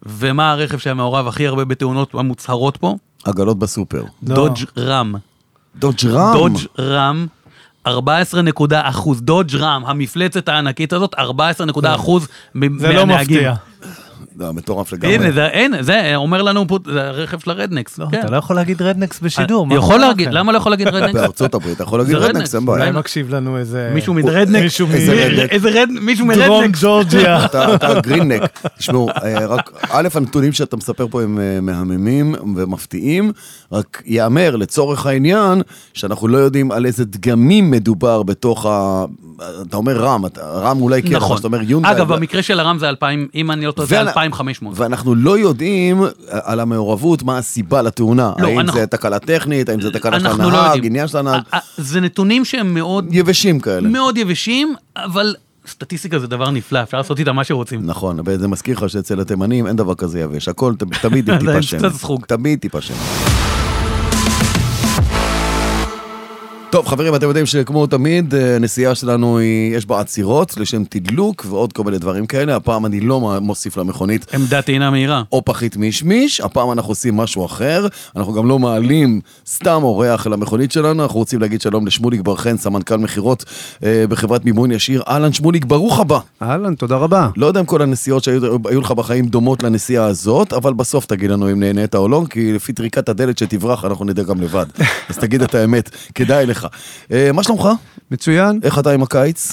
Speaker 1: ומה הרכב שהיה מעורב הכי הרבה בתאונות המוצהרות פה?
Speaker 3: עגלות בסופר.
Speaker 2: לא.
Speaker 1: דודג' רם.
Speaker 3: דודג' רם.
Speaker 1: דודג' רם, 14.1 אחוז. דודג' רם, המפלצת הענקית הזאת, 14.1
Speaker 3: כן.
Speaker 1: אחוז מ-
Speaker 2: זה לא
Speaker 1: מהנהגים.
Speaker 2: מפתיע.
Speaker 3: זה מטורף לגמרי.
Speaker 1: הנה, זה, אין, זה אומר לנו פה, זה הרכב של הרדנקס.
Speaker 2: לא,
Speaker 1: כן.
Speaker 2: אתה לא יכול להגיד רדנקס בשידור. מה
Speaker 1: אה, יכול
Speaker 2: קרה
Speaker 1: להגיד,
Speaker 2: לכם?
Speaker 1: למה לא יכול להגיד רדנקס?
Speaker 3: בארצות הברית, אתה יכול להגיד
Speaker 1: זה לא,
Speaker 3: רדנקס,
Speaker 1: רדנקס,
Speaker 3: אין
Speaker 2: אולי
Speaker 3: בעיה.
Speaker 2: מקשיב לנו איזה...
Speaker 1: מישהו מרדנקס?
Speaker 2: מישהו
Speaker 3: איזה רדנק?
Speaker 1: איזה רד... מישהו
Speaker 2: מדרום
Speaker 1: מרדנקס?
Speaker 2: ג'ורג'יה. (laughs)
Speaker 3: אתה אתה גריננק. תשמעו, אה, רק, א', הנתונים שאתה מספר פה הם אה, מהממים ומפתיעים, רק ייאמר לצורך העניין, שאנחנו לא יודעים על איזה דגמים מדובר בתוך ה... אתה אומר רם, אתה- רם אולי כן, אבל
Speaker 1: נכון.
Speaker 3: אתה אומר יונדאי.
Speaker 1: אגב,
Speaker 3: ו-
Speaker 1: במקרה של הרם זה 2,000, אם אני לא טועה, זה
Speaker 3: ואנ-
Speaker 1: 2,500.
Speaker 3: ואנחנו לא יודעים על המעורבות, מה הסיבה לתאונה.
Speaker 1: לא,
Speaker 3: האם
Speaker 1: אנחנו-
Speaker 3: זה תקלה טכנית, האם זה תקלה של
Speaker 1: אנחנו לא
Speaker 3: הנהג,
Speaker 1: יודעים.
Speaker 3: עניין של הנהג, נכון.
Speaker 1: א- א- זה נתונים שהם מאוד
Speaker 3: יבשים כאלה.
Speaker 1: מאוד יבשים, אבל סטטיסטיקה זה דבר נפלא, אפשר לעשות איתה מה שרוצים.
Speaker 3: נכון, וזה מזכיר לך שאצל התימנים אין דבר כזה יבש, הכל ת-
Speaker 1: (laughs)
Speaker 3: תמיד עם טיפה
Speaker 1: אין
Speaker 3: שמן.
Speaker 1: קצת זחוק.
Speaker 3: תמיד טיפה שמן. טוב, חברים, אתם יודעים שכמו תמיד, אה, הנסיעה שלנו היא, יש בה עצירות לשם תדלוק ועוד כל מיני דברים כאלה. הפעם אני לא מ- מוסיף למכונית
Speaker 1: עמדת טעינה מהירה.
Speaker 3: או פחית מישמיש, הפעם אנחנו עושים משהו אחר, אנחנו גם לא מעלים סתם אורח אל המכונית שלנו, אנחנו רוצים להגיד שלום לשמוליק בר חן, סמנכ"ל מכירות אה, בחברת מימון ישיר. אהלן שמוליק, ברוך הבא.
Speaker 5: אהלן, תודה רבה.
Speaker 3: לא יודע אם כל הנסיעות שהיו היו לך בחיים דומות לנסיעה הזאת, אבל בסוף תגיד לנו אם נהנית או לא, כי לפי טריקת הדלת שתברח אנחנו נדע גם
Speaker 5: (laughs)
Speaker 3: לבד. אז תגיד את האמת, כדאי לך. אה, מה שלומך?
Speaker 5: מצוין.
Speaker 3: איך אתה עם הקיץ?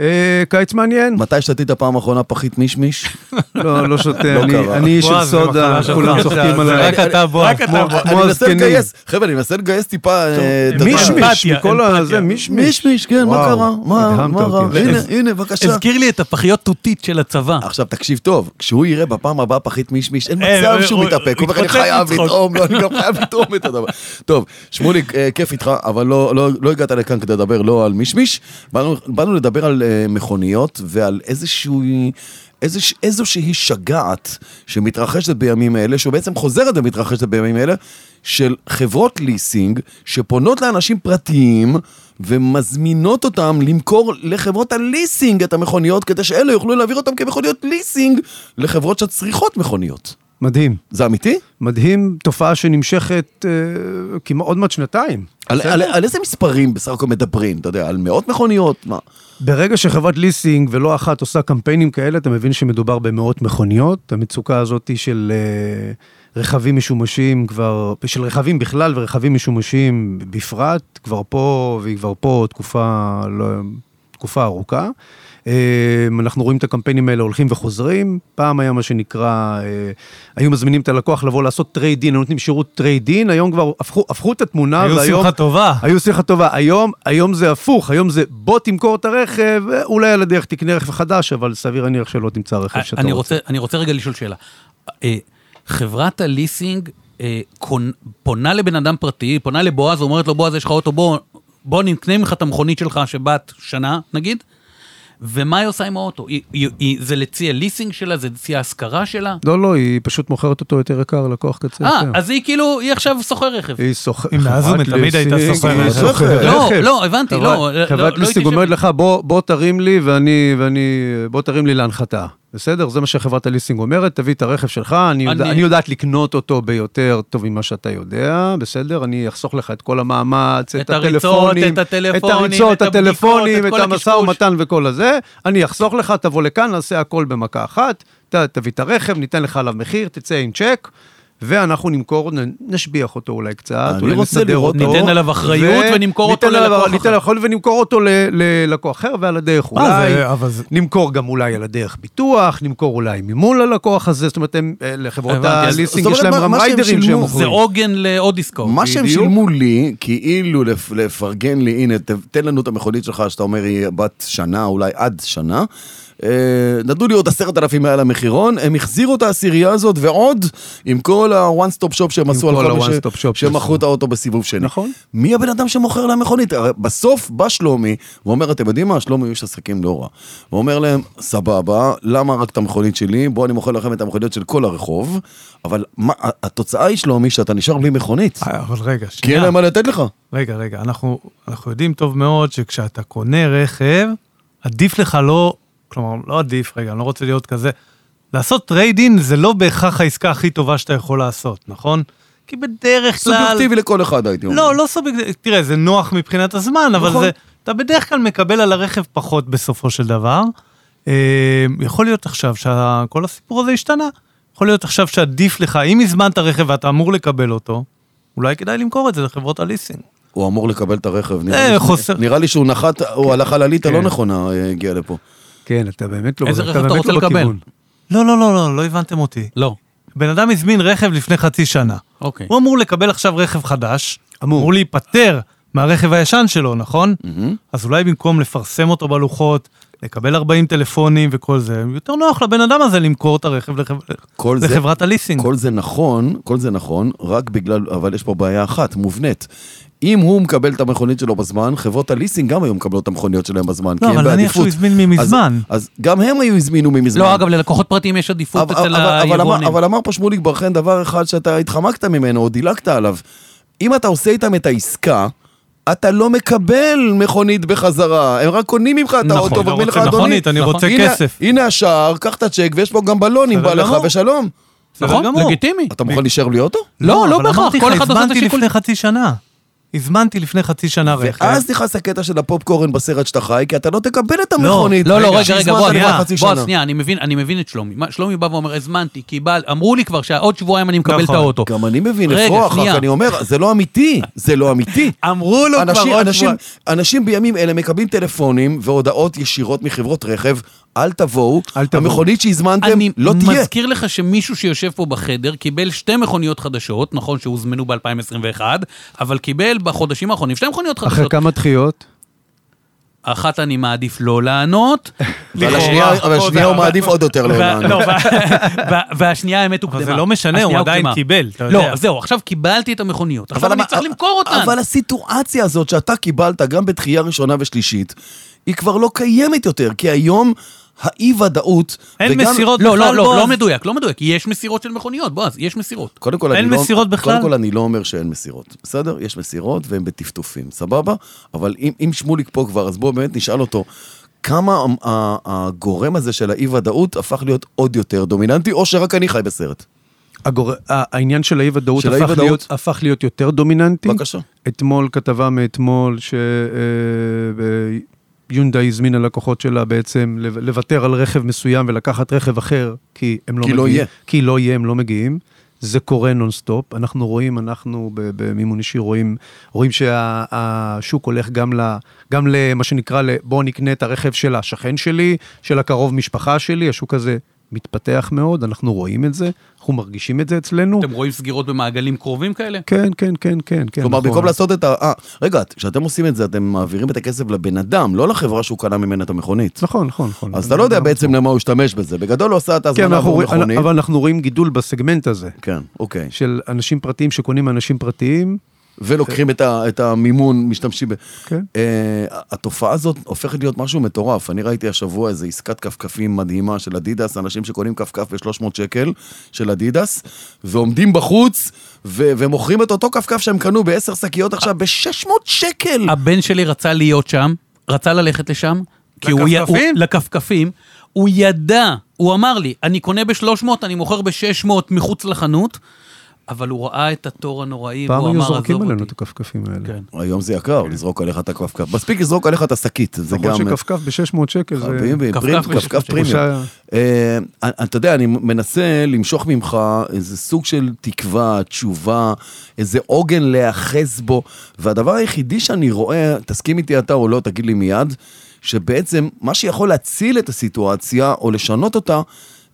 Speaker 5: אה, קיץ מעניין.
Speaker 3: מתי שתית פעם אחרונה פחית מישמיש?
Speaker 5: לא, לא שותה.
Speaker 3: לא
Speaker 5: אני-
Speaker 3: קרה.
Speaker 5: אני איש של
Speaker 2: בועז, זה
Speaker 5: סודה,
Speaker 2: מחלה שלך.
Speaker 5: כולם
Speaker 2: זה-
Speaker 5: צוחקים
Speaker 2: זה
Speaker 5: עליי.
Speaker 2: רק אתה, בועז.
Speaker 1: רק אתה,
Speaker 5: כמו-
Speaker 3: אני
Speaker 5: כמו
Speaker 3: מנסה
Speaker 5: הזקנים.
Speaker 3: לגייס, חבר'ה, אני מנסה לגייס טיפה... אה, את הדבר.
Speaker 5: מישמיש,
Speaker 1: אמפתיה,
Speaker 5: מכל ה...
Speaker 1: אמפתיה.
Speaker 5: זה מישמיש.
Speaker 3: מישמיש, כן, מה
Speaker 5: וואו,
Speaker 3: קרה? מה
Speaker 5: הדהמת
Speaker 3: מה רע?
Speaker 5: אותי.
Speaker 3: הנה,
Speaker 1: הז-
Speaker 3: הנה, בבקשה.
Speaker 1: הזכיר לי את הפחיות תותית של הצבא.
Speaker 3: עכשיו תקשיב טוב, כשהוא יראה בפעם הבאה פחית מישמיש, אין
Speaker 1: אה,
Speaker 3: מצב
Speaker 1: אה,
Speaker 3: שהוא
Speaker 1: הוא-
Speaker 3: מתאפק, הוא
Speaker 1: הוא
Speaker 3: אומר אני
Speaker 1: יתפוצץ
Speaker 3: חייב
Speaker 1: מצחוק."
Speaker 3: לטעום, לא, אני גם חייב (laughs) לטעום את הדבר. טוב, שמוליק, אה, כיף איתך, אבל לא- לא לא הגעת לכאן כדי לדבר לא על מישמיש, באנו- באנו לדבר על אה, מכוניות ועל איזשהו... איזוש- איזושהי שגעת שמתרחשת בימים אלה, שבעצם חוזרת ומתרחשת בימים אלה, של חברות ליסינג שפונות לאנשים פרטיים ומזמינות אותם למכור לחברות הליסינג את המכוניות, כדי שאלה יוכלו להעביר אותם כמכוניות ליסינג לחברות שצריכות מכוניות.
Speaker 5: מדהים.
Speaker 3: זה אמיתי?
Speaker 5: מדהים, תופעה שנמשכת אה, כמעט עוד מעט שנתיים.
Speaker 3: על, על, על איזה מספרים בסך הכל מדברים? אתה יודע, על מאות מכוניות? מה?
Speaker 5: ברגע שחברת ליסינג ולא אחת עושה קמפיינים כאלה, אתה מבין שמדובר במאות מכוניות. המצוקה הזאת היא של אה, רכבים משומשים כבר, של רכבים בכלל ורכבים משומשים בפרט, כבר פה, והיא כבר פה תקופה, לא, תקופה ארוכה. אה, אנחנו רואים את הקמפיינים האלה הולכים וחוזרים. פעם היה מה שנקרא, אה, היו מזמינים את הלקוח לבוא לעשות טרייד דין, היו נותנים שירות טרייד דין, היום כבר הפכו, הפכו את התמונה,
Speaker 2: היו
Speaker 5: והיום...
Speaker 2: שמחה טובה.
Speaker 5: היו שיחה טובה, היום, היום זה הפוך, היום זה בוא תמכור את הרכב, אולי על הדרך תקנה רכב חדש, אבל סביר להניח שלא תמצא רכב שאתה
Speaker 1: אה, אני
Speaker 5: רוצה.
Speaker 1: רוצה, אני רוצה רגע לשאול שאלה. אה, חברת הליסינג אה, קונ- פונה לבן אדם פרטי, פונה לבועז ואומרת לו, בועז, יש לך אוטו, בוא, בוא נקנה ממך את המכונית שלך שבת שנה, נגיד, ומה היא עושה עם האוטו? היא, היא, היא, זה לצי הליסינג שלה, זה לצי ההשכרה שלה?
Speaker 5: לא, לא, היא פשוט מוכרת אותו יותר יקר, לקוח קצה.
Speaker 1: אה,
Speaker 5: אחר.
Speaker 1: אז היא כאילו, היא עכשיו סוחר רכב.
Speaker 5: היא סוחרת,
Speaker 2: אם מאז
Speaker 5: חברת
Speaker 2: ומתמיד הייתה
Speaker 5: ליסינג,
Speaker 2: סוחרת
Speaker 5: היא
Speaker 3: רכב.
Speaker 5: סוחרת
Speaker 1: לא,
Speaker 5: רכב.
Speaker 1: לא, הבנתי,
Speaker 5: חברת-
Speaker 1: לא, לא, לא
Speaker 5: חברת
Speaker 1: הייתי
Speaker 5: ליסינג אומרת
Speaker 1: שם.
Speaker 5: לך, בוא בוא תרים לי ואני, ואני, בוא תרים לי להנחתה. בסדר? זה מה שחברת הליסינג אומרת, תביא את הרכב שלך, אני, יודע,
Speaker 1: אני-
Speaker 5: אני יודעת לקנות אותו ביותר טוב ממה שאתה יודע, בסדר? אני אחסוך לך את כל המאמץ, את,
Speaker 1: את הריצות,
Speaker 5: הטלפונים,
Speaker 1: את הטלפונים,
Speaker 5: את הריצות,
Speaker 1: את הבדיקות,
Speaker 5: הטלפונים,
Speaker 1: את
Speaker 5: את,
Speaker 1: כל
Speaker 5: המשא
Speaker 1: הקשקוש.
Speaker 5: ומתן וכל הזה, אני אחסוך לך, תבוא לכאן, נעשה הכל במכה אחת, ת, תביא את הרכב, ניתן לך עליו מחיר, תצא עם צ'ק. ואנחנו נמכור, נ- נשביח אותו אולי קצת,
Speaker 3: אני
Speaker 5: אולי
Speaker 3: רוצה
Speaker 5: נסדר
Speaker 3: לראות-
Speaker 5: אותו.
Speaker 1: ניתן עליו אחריות ונמכור אותו
Speaker 5: ניתן עליו-
Speaker 1: ללקוח
Speaker 5: ניתן
Speaker 1: אחר.
Speaker 5: עליו אחריות ונמכור אותו ל- ללקוח אחר, ועל הדרך
Speaker 3: אה,
Speaker 5: אולי,
Speaker 2: זה- אבל זה-
Speaker 5: נמכור גם אולי על הדרך ביטוח, נמכור אולי מימון ללקוח הזה, זאת אומרת, הם, אה, לחברות
Speaker 1: הבנתי, אז-
Speaker 5: הליסינג
Speaker 3: זאת
Speaker 5: יש
Speaker 3: אומרת,
Speaker 5: להם
Speaker 3: מה-
Speaker 5: גם
Speaker 3: מה שהם
Speaker 5: ריידרים
Speaker 3: שילמו
Speaker 5: שהם
Speaker 3: זה
Speaker 1: זה
Speaker 5: מוכרים.
Speaker 1: עוגן לאודיסקו.
Speaker 3: מה שהם
Speaker 5: בדיוק.
Speaker 3: שילמו לי, כאילו לפ- לפרגן לי, הנה, ת- תן לנו את המכונית שלך, שאתה אומר היא בת שנה, אולי עד שנה. אה, נדעו לי עוד עשרת אלפים מעל המחירון, הם החזירו את העשירייה הזאת ועוד עם כל ה-one stop shop שהם עשו על
Speaker 5: כל
Speaker 3: כל
Speaker 5: ה-one
Speaker 3: מי
Speaker 5: stop shop
Speaker 3: שהם מכרו
Speaker 5: שעשו.
Speaker 3: את האוטו בסיבוב שני.
Speaker 5: נכון.
Speaker 3: מי הבן אדם שמוכר להם מכונית? הרי בסוף בא שלומי ואומר, אתם יודעים מה, שלומי הוא איש עסקים לא רע. ואומר להם, סבבה, למה רק את המכונית שלי? בואו אני מוכר לכם את המכוניות של כל הרחוב, אבל מה, התוצאה היא שלומי שאתה נשאר בלי מכונית.
Speaker 2: אה, אבל רגע,
Speaker 3: כי אין
Speaker 2: שנייה.
Speaker 3: להם מה לתת לך.
Speaker 2: רגע, רגע, אנחנו אנחנו יודעים טוב מאוד שכשאתה קונה רכב, עדיף לך לא, כלומר, לא עדיף, רגע, אני לא רוצה להיות כזה. לעשות טריידין זה לא בהכרח העסקה הכי טובה שאתה יכול לעשות, נכון? כי בדרך כלל...
Speaker 3: סובייקטיבי לכל אחד הייתי אומר.
Speaker 2: לא, לא סובייקטיבי, תראה, זה נוח מבחינת הזמן, אבל
Speaker 3: נכון.
Speaker 2: זה אתה בדרך כלל מקבל על הרכב פחות בסופו של דבר. אה, יכול להיות עכשיו שכל הסיפור הזה השתנה. יכול להיות עכשיו שעדיף לך, אם הזמנת רכב ואתה אמור לקבל אותו, אולי כדאי למכור את זה לחברות הליסינג.
Speaker 3: הוא אמור לקבל את הרכב, נראה
Speaker 2: אה,
Speaker 3: לי-
Speaker 2: חוסר-
Speaker 3: נראה לי שהוא נחת, הוא הלך על הליטה לא
Speaker 5: כן.
Speaker 3: נכונה, אה, הגיע לפה.
Speaker 5: כן, אתה באמת לא...
Speaker 1: איזה רכב אתה
Speaker 5: באמת
Speaker 1: רוצה
Speaker 5: לא
Speaker 1: לקבל?
Speaker 5: בכיוון.
Speaker 2: לא, לא, לא, לא, לא הבנתם אותי.
Speaker 1: לא.
Speaker 2: בן אדם הזמין רכב לפני חצי שנה.
Speaker 1: אוקיי.
Speaker 2: הוא אמור לקבל עכשיו רכב חדש, אמור, אמור להיפטר מהרכב הישן שלו, נכון?
Speaker 1: Mm-hmm.
Speaker 2: אז אולי במקום לפרסם אותו בלוחות, לקבל 40 טלפונים וכל זה, יותר נוח לבן אדם הזה למכור את הרכב לחב...
Speaker 3: כל זה-
Speaker 2: לחברת הליסינג.
Speaker 3: כל זה נכון, כל זה נכון, רק בגלל, אבל יש פה בעיה אחת, מובנית. אם הוא מקבל את המכונית שלו בזמן, חברות הליסינג גם היו מקבלות את המכוניות שלהם בזמן,
Speaker 2: לא,
Speaker 3: כי
Speaker 2: אבל
Speaker 3: הם
Speaker 2: נניח
Speaker 3: בעדיפות.
Speaker 2: שהוא הזמין ממזמן.
Speaker 3: אז, אז גם הם היו הזמינו ממזמן.
Speaker 1: לא, אגב, ללקוחות פרטיים יש עדיפות
Speaker 3: אבל,
Speaker 1: אצל
Speaker 3: אבל, אבל, אמר,
Speaker 1: היבואנים.
Speaker 3: אבל אמר פה שמוליק ברחן דבר אחד שאתה התחמקת ממנו, או דילגת עליו. אם אתה עושה איתם את העסקה, אתה לא מקבל מכונית בחזרה, הם רק קונים ממך את
Speaker 2: נכון,
Speaker 3: האוטו
Speaker 2: לא
Speaker 3: ואומרים לך,
Speaker 2: רוצה
Speaker 3: אדוני,
Speaker 2: מכונית, אני
Speaker 1: נכון.
Speaker 2: רוצה
Speaker 3: הנה,
Speaker 2: כסף.
Speaker 3: הנה השער, קח את הצ'ק ויש פה גם בלון אם
Speaker 2: בסדר
Speaker 3: בא לך
Speaker 2: גמור.
Speaker 3: ושלום.
Speaker 2: בסדר
Speaker 1: נכון,
Speaker 2: גמור.
Speaker 1: לגיטימי.
Speaker 3: אתה מוכן להישאר בלי אוטו?
Speaker 1: לא, לא
Speaker 2: אבל
Speaker 1: בהכרח,
Speaker 2: אמרתי
Speaker 1: כל
Speaker 2: לך,
Speaker 1: אחד עושה את
Speaker 2: הזמנתי
Speaker 1: השיקול.
Speaker 2: לפני חצי שנה. הזמנתי לפני חצי שנה רכב.
Speaker 3: ואז נכנס הקטע של הפופקורן בסרט שאתה חי, כי אתה לא תקבל את המכונית.
Speaker 1: כן. לא, לא, רגע,
Speaker 3: שהזמנת
Speaker 1: רגע, בוא,
Speaker 3: לפני
Speaker 2: שנייה,
Speaker 3: חצי
Speaker 1: בוא,
Speaker 3: שנה.
Speaker 1: שנייה, אני מבין, אני מבין את שלומי. מה, שלומי בא ואומר, הזמנתי, קיבל, אמרו לי כבר שעוד שבועיים אני מקבל את
Speaker 2: נכון.
Speaker 1: האוטו.
Speaker 3: גם אני מבין,
Speaker 1: רגע,
Speaker 3: אפרוח, רק
Speaker 1: שנייה.
Speaker 3: אני אומר, זה לא אמיתי, זה לא
Speaker 1: (laughs)
Speaker 3: אמיתי.
Speaker 2: אמרו
Speaker 1: לא,
Speaker 2: לו
Speaker 3: אנשים,
Speaker 2: כבר עוד
Speaker 3: אנשים,
Speaker 2: שבועיים.
Speaker 3: אנשים בימים אלה מקבלים טלפונים והודעות ישירות מחברות רכב, אל תבואו,
Speaker 5: אל תבואו.
Speaker 3: המכונית שהזמנתם
Speaker 1: אני
Speaker 3: לא תהיה.
Speaker 1: מזכיר לך שמישהו שיושב פה בחדר קיבל שתי מכוניות חדשות, נכון שהוזמנו ב-2021, אבל קיבל בחודשים האחרונים שתי מכוניות
Speaker 5: אחרי
Speaker 1: חדשות.
Speaker 5: כמה דחיות?
Speaker 1: אחת אני מעדיף לא
Speaker 2: (laughs)
Speaker 1: לענות,
Speaker 3: אבל השנייה- אבל השנייה הוא מעדיף עוד יותר
Speaker 1: וה-
Speaker 3: לעולם.
Speaker 1: לא, וה- (laughs) וה- והשנייה האמת הוקדמה.
Speaker 2: זה לא משנה,
Speaker 1: השנייה
Speaker 2: הוא עדיין
Speaker 1: הוקדמה.
Speaker 2: קיבל, אתה יודע.
Speaker 1: לא, זהו, עכשיו קיבלתי את המכוניות, עכשיו אני
Speaker 3: אבל-
Speaker 1: צריך למכור אותן.
Speaker 3: אבל הסיטואציה הזאת שאתה קיבלת גם בדחייה ראשונה ושלישית, היא כבר לא קיימת יותר, כי היום האי-ודאות...
Speaker 2: אין
Speaker 3: וגם-
Speaker 2: מסירות
Speaker 1: לא,
Speaker 2: בכלל,
Speaker 1: לא, לא,
Speaker 2: בועז.
Speaker 1: לא מדויק, לא מדויק. יש מסירות של מכוניות, בועז, יש מסירות.
Speaker 3: קודם כל,
Speaker 2: אין
Speaker 3: אני לא-
Speaker 2: מסירות בכלל?
Speaker 3: קודם כל, אני לא אומר שאין מסירות, בסדר? יש מסירות והן בטפטופים, סבבה? אבל אם, אם שמוליק פה כבר, אז בואו באמת נשאל אותו, כמה ה- ה- הגורם הזה של האי-ודאות הפך להיות עוד יותר דומיננטי, או שרק אני חי בסרט?
Speaker 5: הגור... ה- העניין של האי-ודאות
Speaker 3: של
Speaker 5: הפך,
Speaker 3: האי-ודאות.
Speaker 5: להיות- הפך להיות יותר דומיננטי.
Speaker 3: בבקשה.
Speaker 5: אתמול, כתבה מאתמול, שיונדאי הזמינה לקוחות שלה בעצם לב- לוותר על רכב מסוים ולקחת רכב אחר, כי הם לא
Speaker 3: כי לא
Speaker 5: מגיעים.
Speaker 3: יהיה.
Speaker 5: כי לא יהיה, הם לא מגיעים. זה קורה נונסטופ, אנחנו רואים, אנחנו ב- במימון אישי רואים, רואים שהשוק הולך גם, ל, גם למה שנקרא, ל- בוא נקנה את הרכב של השכן שלי, של הקרוב משפחה שלי, השוק הזה מתפתח מאוד, אנחנו רואים את זה, אנחנו מרגישים את זה אצלנו.
Speaker 1: אתם רואים סגירות במעגלים קרובים כאלה?
Speaker 5: כן, כן, כן, כן, כן.
Speaker 3: כלומר,
Speaker 5: נכון.
Speaker 3: במקום לעשות את ה... אה, רגע, כשאתם עושים את זה, אתם מעבירים את הכסף לבן אדם, לא לחברה שהוא קנה ממנה את המכונית.
Speaker 5: נכון, נכון, נכון.
Speaker 3: אז אתה לא יודע בעצם למה הוא השתמש בזה. בגדול הוא עשה את
Speaker 5: כן,
Speaker 3: ההזמנה
Speaker 5: אנחנו
Speaker 3: עבור
Speaker 5: רואים,
Speaker 3: מכונית.
Speaker 5: אבל אנחנו רואים גידול בסגמנט הזה,
Speaker 3: כן, אוקיי.
Speaker 5: של אנשים פרטיים שקונים מאנשים פרטיים.
Speaker 3: ולוקחים את, ה, את המימון, משתמשים ב...
Speaker 5: כן.
Speaker 3: Uh, התופעה הזאת הופכת להיות משהו מטורף. אני ראיתי השבוע איזו עסקת כפכפים מדהימה של אדידס, אנשים שקונים כפכף ב-300 שקל של אדידס, ועומדים בחוץ ו- ומוכרים את אותו כפכף שהם קנו בעשר שקיות עכשיו ב-600 שקל.
Speaker 1: הבן שלי רצה להיות שם, רצה ללכת לשם, כי הוא... י-
Speaker 2: לכפכפים?
Speaker 1: הוא- לכפכפים. הוא ידע, הוא אמר לי, אני קונה ב-300, אני מוכר ב-600 מחוץ לחנות, אבל הוא ראה את התור הנוראי,
Speaker 5: פעם
Speaker 1: והוא
Speaker 5: היו
Speaker 1: אמר,
Speaker 5: זורקים
Speaker 1: עזוב
Speaker 5: עלינו את
Speaker 1: אותי.
Speaker 5: הכפכפים האלה.
Speaker 1: כן.
Speaker 3: היום זה יקר, לזרוק עליך את הכפכף. מספיק לזרוק עליך את השקית, זה
Speaker 5: נכון
Speaker 3: גם...
Speaker 5: שכפכף ב-600 שקל זה...
Speaker 3: חביבי,
Speaker 1: כפכף
Speaker 3: פרימיום,
Speaker 1: ב-600
Speaker 3: כפכף
Speaker 1: שקל.
Speaker 3: פרימיום.
Speaker 5: שלושה-
Speaker 3: אה, אתה יודע, אני מנסה למשוך ממך איזה סוג של תקווה, תשובה, איזה עוגן להיאחז בו, והדבר היחידי שאני רואה, תסכים איתי אתה או לא, תגיד לי מיד, שבעצם מה שיכול להציל את הסיטואציה או לשנות אותה,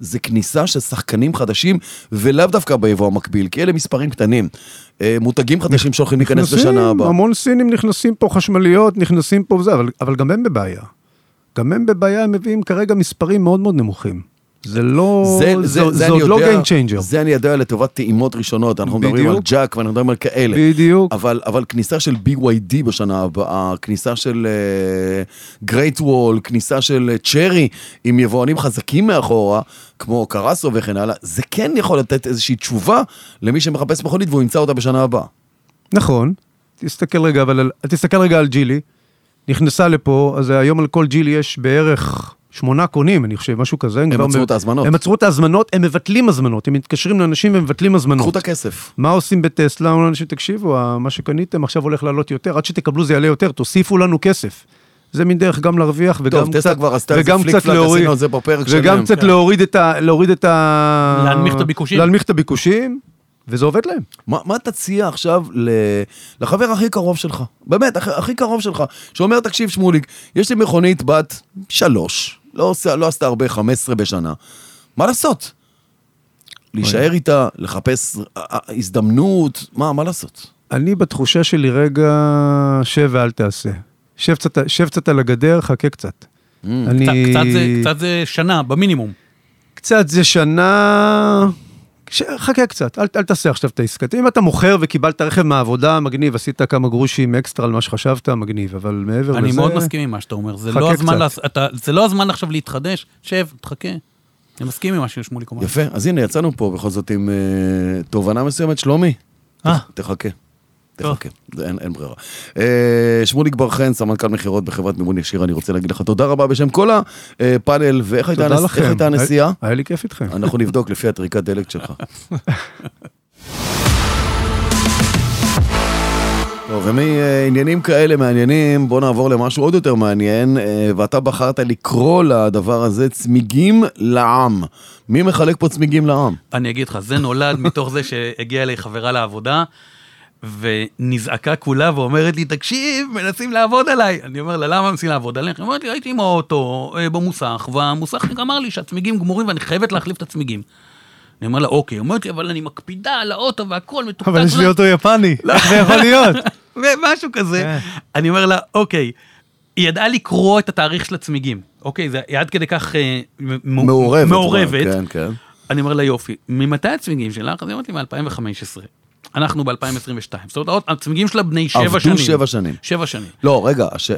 Speaker 3: זה כניסה של שחקנים חדשים, ולאו דווקא ביבוא המקביל, כי אלה מספרים קטנים. אה, מותגים חדשים שהולכים להיכנס
Speaker 5: נכנסים,
Speaker 3: לשנה הבאה.
Speaker 5: המון סינים נכנסים פה, חשמליות, נכנסים פה וזה, אבל- אבל גם הם בבעיה. גם הם בבעיה, הם מביאים כרגע מספרים מאוד מאוד נמוכים. זה לא... זה
Speaker 3: אני
Speaker 5: עוד לא
Speaker 3: יודע-
Speaker 5: Game Changer.
Speaker 3: זה אני יודע לטובת טעימות ראשונות, אנחנו מדברים על
Speaker 5: בדיוק.
Speaker 3: ג'אק ואנחנו מדברים על כאלה.
Speaker 5: בדיוק.
Speaker 3: אבל, אבל כניסה של BYD בשנה הבאה, כניסה של גרייט uh, וול, כניסה של אה, צ'רי עם יבואנים חזקים מאחורה, כמו קרסו וכן הלאה, זה כן יכול לתת איזושהי תשובה למי שמחפש מכונית והוא ימצא אותה בשנה הבאה.
Speaker 5: נכון, תסתכל רגע, אבל על- תסתכל רגע על ג'ילי. נכנסה לפה, אז היום על כל ג'ילי יש בערך שמונה קונים, אני חושב, משהו כזה. הם כבר
Speaker 3: עצרו
Speaker 5: מב-
Speaker 3: את ההזמנות.
Speaker 5: הם עצרו את ההזמנות, הם מבטלים הזמנות, הם מתקשרים לאנשים ומבטלים
Speaker 3: קחו
Speaker 5: הזמנות.
Speaker 3: את הכסף.
Speaker 5: מה עושים בטסלה? אומרים לאנשים, תקשיבו, ה- מה שקניתם עכשיו הולך לעלות יותר, עד שתקבלו זה יעלה יותר, תוסיפו לנו כסף. זה מין דרך גם להרוויח וגם
Speaker 3: טוב, טסלה
Speaker 5: קצת,
Speaker 3: כבר עשתה איזה
Speaker 5: וגם
Speaker 3: פליק
Speaker 5: קצת
Speaker 3: פלאק,
Speaker 5: להוריד,
Speaker 3: עשינו את זה בפרק שלהם.
Speaker 5: וגם קצת להוריד את ה... להוריד את ה...
Speaker 1: להנמיך את הביקושים.
Speaker 5: להנמיך את הביקושים, וזה עובד להם.
Speaker 3: מה, מה תציע עכשיו ל... לחבר הכי קרוב שלך? באמת, הכי, הכי קרוב שלך, שאומר, תקשיב, שמוליק, יש לי מכונית בת שלוש, לא, עושה, לא עשתה הרבה, 15 בשנה. מה לעשות? להישאר איתה, לחפש אה, אה, הזדמנות, מה, מה לעשות?
Speaker 5: אני בתחושה שלי רגע, שב ואל תעשה. שב קצת, שב קצת על הגדר, חכה קצת. אני...
Speaker 1: Mm, קצת- קצת זה- קצת זה שנה, במינימום.
Speaker 5: קצת זה שנה... ש- חכה קצת, אל, אל תעשה עכשיו את העסקה. אם אתה מוכר וקיבלת רכב מהעבודה, מגניב, עשית כמה גרושים אקסטרה על מה שחשבת, מגניב, אבל מעבר לזה...
Speaker 1: אני מאוד מסכים עם מה שאתה אומר. זה
Speaker 5: חכה
Speaker 1: לא הזמן
Speaker 5: קצת.
Speaker 1: לעש- אתה- זה לא הזמן עכשיו להתחדש, שב, תחכה. אני מסכים עם מה ששמוליק אומר.
Speaker 3: יפה, אז הנה, יצאנו פה בכל זאת עם אה, תובנה מסוימת, שלומי.
Speaker 2: אה.
Speaker 3: ת- תחכה. תחכה, זה אין, אין ברירה. אה, שמוליק בר חן, סמנכ"ל מכירות בחברת מימון ישיר, אני רוצה להגיד לך תודה רבה בשם כל הפאנל, אה, ואיך הייתה,
Speaker 5: תודה
Speaker 3: הנס...
Speaker 5: לכם.
Speaker 3: איך הייתה הנסיעה?
Speaker 5: היה, היה לי כיף איתכם.
Speaker 3: אנחנו נבדוק לפי הטריקת דלק שלך. טוב, ומעניינים כאלה מעניינים, בוא נעבור למשהו עוד יותר מעניין, אה, ואתה בחרת לקרוא לדבר הזה צמיגים לעם. מי מחלק פה צמיגים לעם?
Speaker 1: אני אגיד לך, זה נולד מתוך זה שהגיעה אליי חברה לעבודה, ונזעקה כולה ואומרת לי, תקשיב, מנסים לעבוד עליי. אני אומר לה, למה מנסים לעבוד עליך? היא אומרת לי, הייתי עם האוטו אה, במוסך, והמוסכניק אמר לי שהצמיגים גמורים ואני חייבת להחליף את הצמיגים. אני אומר לה, אוקיי. היא אומרת לי, אבל אני מקפידה על האוטו והכל מתוקתק.
Speaker 2: אבל יש לי
Speaker 1: (laughs)
Speaker 2: אוטו יפני,
Speaker 1: לא.
Speaker 2: איך זה יכול להיות?
Speaker 1: משהו כזה.
Speaker 2: כן.
Speaker 1: אני אומר לה, אוקיי. היא ידעה לקרוא את התאריך של הצמיגים, אוקיי? זה היא עד כדי כך אה, מ-
Speaker 3: מעורבת.
Speaker 1: מעורבת.
Speaker 3: כן, כן.
Speaker 1: אני אומר לה יופי, ממתי הצמיגים שלך? אז היא אומרת לי מ-2015. אנחנו ב-2022. זאת אומרת, עוד- הצמיגים שלה בני שבע
Speaker 3: עבדו
Speaker 1: שנים.
Speaker 3: שבע שנים.
Speaker 1: שבע שנים.
Speaker 3: לא, רגע, הש...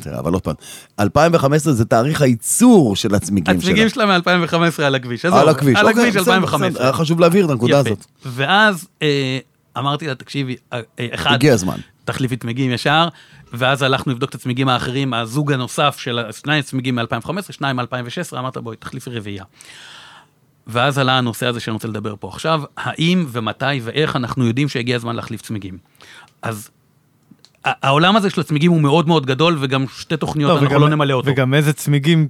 Speaker 3: תראה, אבל עוד פעם, 2015 זה תאריך הייצור של הצמיגים שלה.
Speaker 1: הצמיגים שלה מ-2015 על הכביש. עזוב,
Speaker 3: על הכביש.
Speaker 1: על
Speaker 3: אוקיי,
Speaker 1: הכביש
Speaker 3: בסדר,
Speaker 1: 2015.
Speaker 3: בסדר, היה חשוב להבהיר את הנקודה
Speaker 1: יפה.
Speaker 3: הזאת.
Speaker 1: ואז אה, אמרתי לה, תקשיבי, אה, אה, אחד,
Speaker 3: הגיע הזמן.
Speaker 1: תחליפי צמיגים ישר, ואז הלכנו לבדוק את הצמיגים האחרים, הזוג הנוסף של ה- שניים צמיגים מ-2015, שניים מ-2016, אמרת בואי, תחליפי רביעייה. ואז עלה הנושא הזה שאני רוצה לדבר פה עכשיו, האם ומתי ואיך אנחנו יודעים שהגיע הזמן להחליף צמיגים. אז ה- העולם הזה של הצמיגים הוא מאוד מאוד גדול, וגם שתי תוכניות אנחנו לא נמלא אותו.
Speaker 2: וגם איזה צמיגים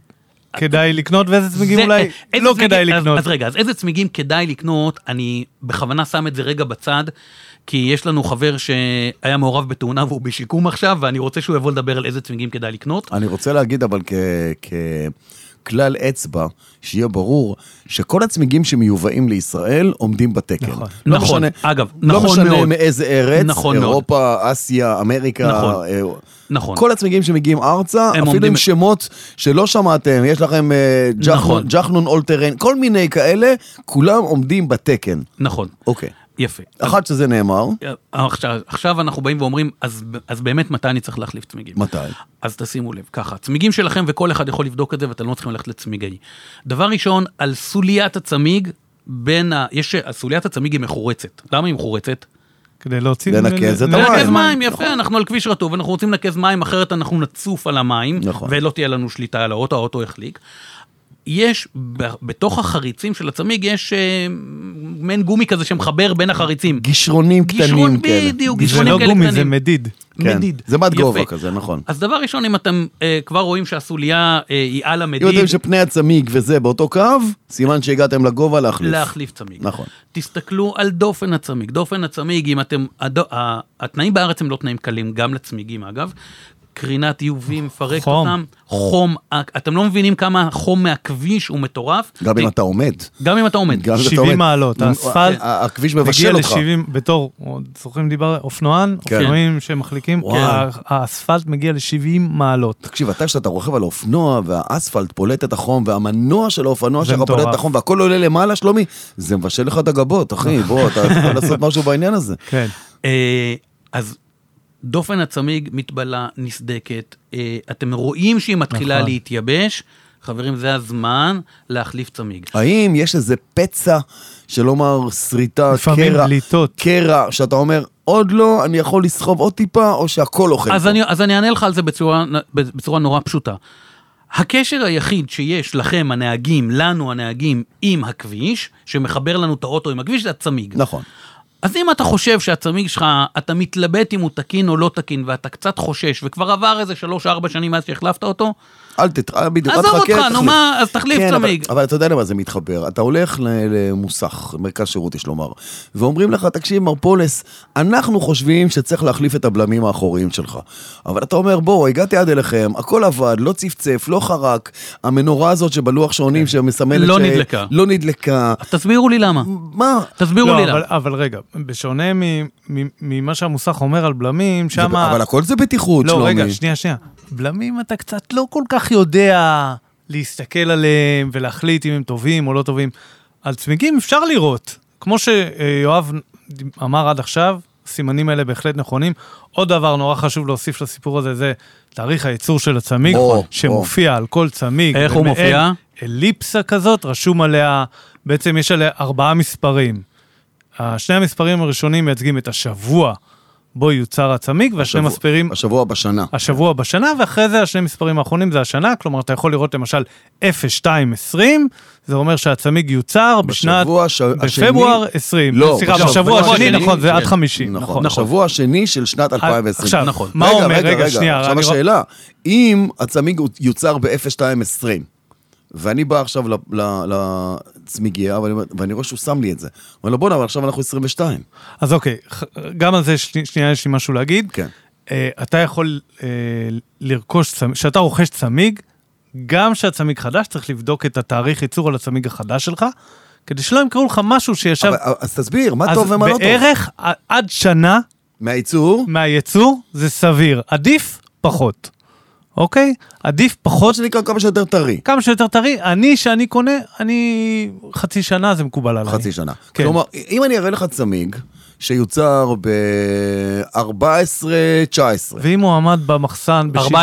Speaker 2: כדאי לקנות ואיזה צמיגים
Speaker 1: זה- אה,
Speaker 2: אולי
Speaker 1: איזה
Speaker 2: לא
Speaker 1: צמיגים-
Speaker 2: כדאי
Speaker 1: אז-
Speaker 2: לקנות.
Speaker 1: אז רגע, אז איזה צמיגים כדאי לקנות, אני בכוונה שם את זה רגע בצד, כי יש לנו חבר שהיה מעורב בתאונה והוא בשיקום עכשיו, ואני רוצה שהוא יבוא לדבר על איזה צמיגים כדאי לקנות.
Speaker 3: אני רוצה להגיד אבל כ- ככלל אצבע, שיהיה ברור שכל הצמיגים שמיובאים לישראל עומדים בתקן. נכון. לא
Speaker 1: נכון,
Speaker 3: משנה,
Speaker 1: אגב,
Speaker 3: לא
Speaker 1: נכון
Speaker 3: משנה
Speaker 1: מאוד.
Speaker 3: מאיזה ארץ,
Speaker 1: נכון מאוד.
Speaker 3: אירופה, אסיה, אמריקה.
Speaker 1: נכון,
Speaker 3: אה,
Speaker 1: נכון.
Speaker 3: כל הצמיגים שמגיעים ארצה, אפילו
Speaker 1: עומדים-
Speaker 3: עם שמות שלא שמעתם, יש לכם אה, ג'חנון-
Speaker 1: נכון.
Speaker 3: ג'חנון אולטרן, כל מיני כאלה, כולם עומדים בתקן.
Speaker 1: נכון,
Speaker 3: אוקיי.
Speaker 1: יפה.
Speaker 3: אחת שזה נאמר,
Speaker 1: עכשיו, עכשיו אנחנו באים ואומרים, אז, אז באמת מתי אני צריך להחליף צמיגים?
Speaker 3: מתי?
Speaker 1: אז תשימו לב, ככה, צמיגים שלכם וכל אחד יכול לבדוק את זה ואתם לא צריכים ללכת לצמיגי. דבר ראשון, על סוליית הצמיג, בין ה... יש... סוליית הצמיג היא מחורצת. למה היא מחורצת?
Speaker 2: כדי להוציא...
Speaker 3: לנקז את המים.
Speaker 1: לנקז מים,
Speaker 3: נכון.
Speaker 1: יפה, אנחנו על כביש רטוב, אנחנו רוצים לנקז מים, אחרת אנחנו נצוף על המים,
Speaker 3: נכון.
Speaker 1: ולא תהיה לנו שליטה על האוטו, האוטו יחליק. יש, ב- בתוך החריצים של הצמיג, יש אה, מעין גומי כזה שמחבר בין החריצים.
Speaker 3: גישרונים
Speaker 1: גישרון,
Speaker 3: קטנים כאלה.
Speaker 1: בדיוק,
Speaker 2: זה
Speaker 1: גישרונים
Speaker 2: לא
Speaker 1: כאלה
Speaker 2: גומי, זה
Speaker 1: קטנים.
Speaker 2: מדיד.
Speaker 3: כן,
Speaker 1: מדיד.
Speaker 3: זה מד
Speaker 1: יפה.
Speaker 3: גובה כזה, נכון.
Speaker 1: אז דבר ראשון, אם אתם אה, כבר רואים שהסוליה אה, היא על
Speaker 3: אם
Speaker 1: המדיד,
Speaker 3: אתם שפני הצמיג וזה באותו קו, סימן שהגעתם לגובה להחליף.
Speaker 1: להחליף צמיג.
Speaker 3: נכון.
Speaker 1: תסתכלו על דופן הצמיג. דופן הצמיג, אם אתם... הדו, ה, התנאים בארץ הם לא תנאים קלים, גם לצמיגים אגב. קרינת UV מפרקת
Speaker 2: חום.
Speaker 1: אותם, חום, אתם לא מבינים כמה החום מהכביש הוא מטורף.
Speaker 3: גם אם
Speaker 1: ת-
Speaker 3: אתה עומד.
Speaker 1: גם אם אתה עומד.
Speaker 3: גם אם אתה
Speaker 2: 70
Speaker 3: עומד.
Speaker 2: מעלות,
Speaker 3: נו,
Speaker 2: האספלט
Speaker 3: ה- הכביש
Speaker 2: מגיע
Speaker 3: מבשל אותך.
Speaker 2: ל-70, בתור, עוד זוכרים דיבר, אופנוען,
Speaker 3: כן.
Speaker 2: אופנועים שמחליקים,
Speaker 3: וואו.
Speaker 2: ה- האספלט מגיע ל-70 מעלות.
Speaker 3: תקשיב, אתה כשאתה רוכב על האופנוע והאספלט פולט את החום והמנוע של האופנוע
Speaker 2: זה
Speaker 3: שלך פולט את
Speaker 2: מטורף.
Speaker 3: החום והכל עולה למעלה, שלומי, זה מבשל לך את הגבות, אחי, בוא, אתה יכול לעשות משהו בעניין הזה.
Speaker 2: נכון. (laughs) כן.
Speaker 1: אה, אז דופן הצמיג מתבלה, נסדקת, אה, אתם רואים שהיא מתחילה
Speaker 2: נכון.
Speaker 1: להתייבש. חברים, זה הזמן להחליף צמיג.
Speaker 3: האם יש איזה פצע, שלא אומר שריטה,
Speaker 2: לפעמים
Speaker 3: קרע,
Speaker 2: בליטות.
Speaker 3: קרע, שאתה אומר, עוד לא, אני יכול לסחוב עוד טיפה, או שהכל אוכל.
Speaker 1: אז
Speaker 3: פה"?
Speaker 1: אני, אז אני אענה לך על זה בצורה, בצורה נורא פשוטה. הקשר היחיד שיש לכם הנהגים, לנו הנהגים, עם הכביש, שמחבר לנו את האוטו עם הכביש, זה הצמיג.
Speaker 3: נכון.
Speaker 1: אז אם אתה חושב שהצמיג שלך, אתה מתלבט אם הוא תקין או לא תקין, ואתה קצת חושש, וכבר עבר איזה 3-4 שנים מאז שהחלפת אותו,
Speaker 3: אל תתראה, בדיוק, אל
Speaker 1: עזוב
Speaker 3: תחכה,
Speaker 1: אותך, נו
Speaker 3: תחליף.
Speaker 1: מה, אז תחליף
Speaker 3: כן, אבל-
Speaker 1: צמיג.
Speaker 3: אבל אתה יודע למה זה מתחבר. אתה הולך ל- למוסך, מרכז שירות יש לומר, ואומרים לך, תקשיב, מר פולס, אנחנו חושבים שצריך להחליף את הבלמים האחוריים שלך. אבל אתה אומר, בואו, הגעתי עד אליכם, הכל עבד, לא צפצף, לא חרק, המנורה הזאת שבלוח שעונים שמסמלת...
Speaker 1: לא
Speaker 3: ש-
Speaker 1: נדלקה.
Speaker 3: לא נדלקה.
Speaker 1: אז תסבירו לי למה.
Speaker 3: מה?
Speaker 1: תסבירו לי
Speaker 2: לא,
Speaker 1: למה.
Speaker 2: אבל, אבל רגע, בשונה מ- מ- ממה שהמוסך אומר על בלמים,
Speaker 3: זה-
Speaker 2: שם...
Speaker 3: אבל הכל זה בטיחות, שלומי.
Speaker 2: לא, רגע, שנייה, שנייה. בלמים אתה קצת לא כל כך יודע להסתכל עליהם ולהחליט אם הם טובים או לא טובים. על צמיגים אפשר לראות. כמו שיואב אמר עד עכשיו, הסימנים האלה בהחלט נכונים. עוד דבר נורא חשוב להוסיף לסיפור הזה, זה תאריך הייצור של הצמיג,
Speaker 3: או,
Speaker 2: שמופיע על כל צמיג.
Speaker 1: איך הוא
Speaker 2: במעין
Speaker 1: מופיע?
Speaker 2: אליפסה כזאת, רשום עליה, בעצם יש עליה ארבעה מספרים. שני המספרים הראשונים מייצגים את השבוע בו יוצר הצמיג, והשני
Speaker 3: השבוע-
Speaker 2: מספרים
Speaker 3: השבוע בשנה.
Speaker 2: השבוע בשנה, ואחרי זה השני מספרים האחרונים זה השנה, כלומר אתה יכול לראות למשל 0220, זה אומר שהצמיג יוצר בשנת,
Speaker 3: בשבוע ש- השני-
Speaker 2: בפברואר 20.
Speaker 3: לא,
Speaker 2: סליחה,
Speaker 3: בשבוע
Speaker 2: בשבוע השני,
Speaker 1: השני,
Speaker 2: נכון, זה
Speaker 1: כן.
Speaker 2: עד 50,
Speaker 3: נכון,
Speaker 2: נכון. אה,
Speaker 3: השבוע השני של שנת 2020.
Speaker 2: עכשיו,
Speaker 1: נכון.
Speaker 2: מה
Speaker 3: רגע,
Speaker 2: אומר,
Speaker 3: רגע,
Speaker 2: רגע, שנייה,
Speaker 3: עכשיו
Speaker 2: אני רק-
Speaker 3: השאלה, אם הצמיג יוצר ב-0220, ואני בא עכשיו ל- ל- לצמיגייה, ואני אומר- ואני רואה שהוא שם לי את זה. אומר לו, בואנה, אבל עכשיו אנחנו 22.
Speaker 2: אז אוקיי, ח- גם על זה שני- שנייה יש לי משהו להגיד.
Speaker 3: כן.
Speaker 2: אה, אתה יכול אה, לרכוש, צמיג- כשאתה רוכש צמיג, גם כשהצמיג חדש, צריך לבדוק את התאריך ייצור על הצמיג החדש שלך, כדי שלא ימכרו לך משהו שישב...
Speaker 3: אבל- אז תסביר, מה
Speaker 2: אז
Speaker 3: טוב ומה לא טוב.
Speaker 2: בערך ע- עד שנה
Speaker 3: מהייצור,
Speaker 2: מהייצור זה סביר, עדיף פחות, אוקיי? עדיף
Speaker 3: כמו
Speaker 2: פחות,
Speaker 3: שנקרא כמה שיותר טרי.
Speaker 2: כמה שיותר טרי, אני שאני קונה, אני חצי שנה זה מקובל עליי.
Speaker 3: חצי שנה.
Speaker 2: כן.
Speaker 3: כלומר, אם אני אראה לך צמיג שיוצר ב-14-19.
Speaker 2: ואם הוא עמד במחסן ב-70,
Speaker 1: 14-19?
Speaker 3: כן.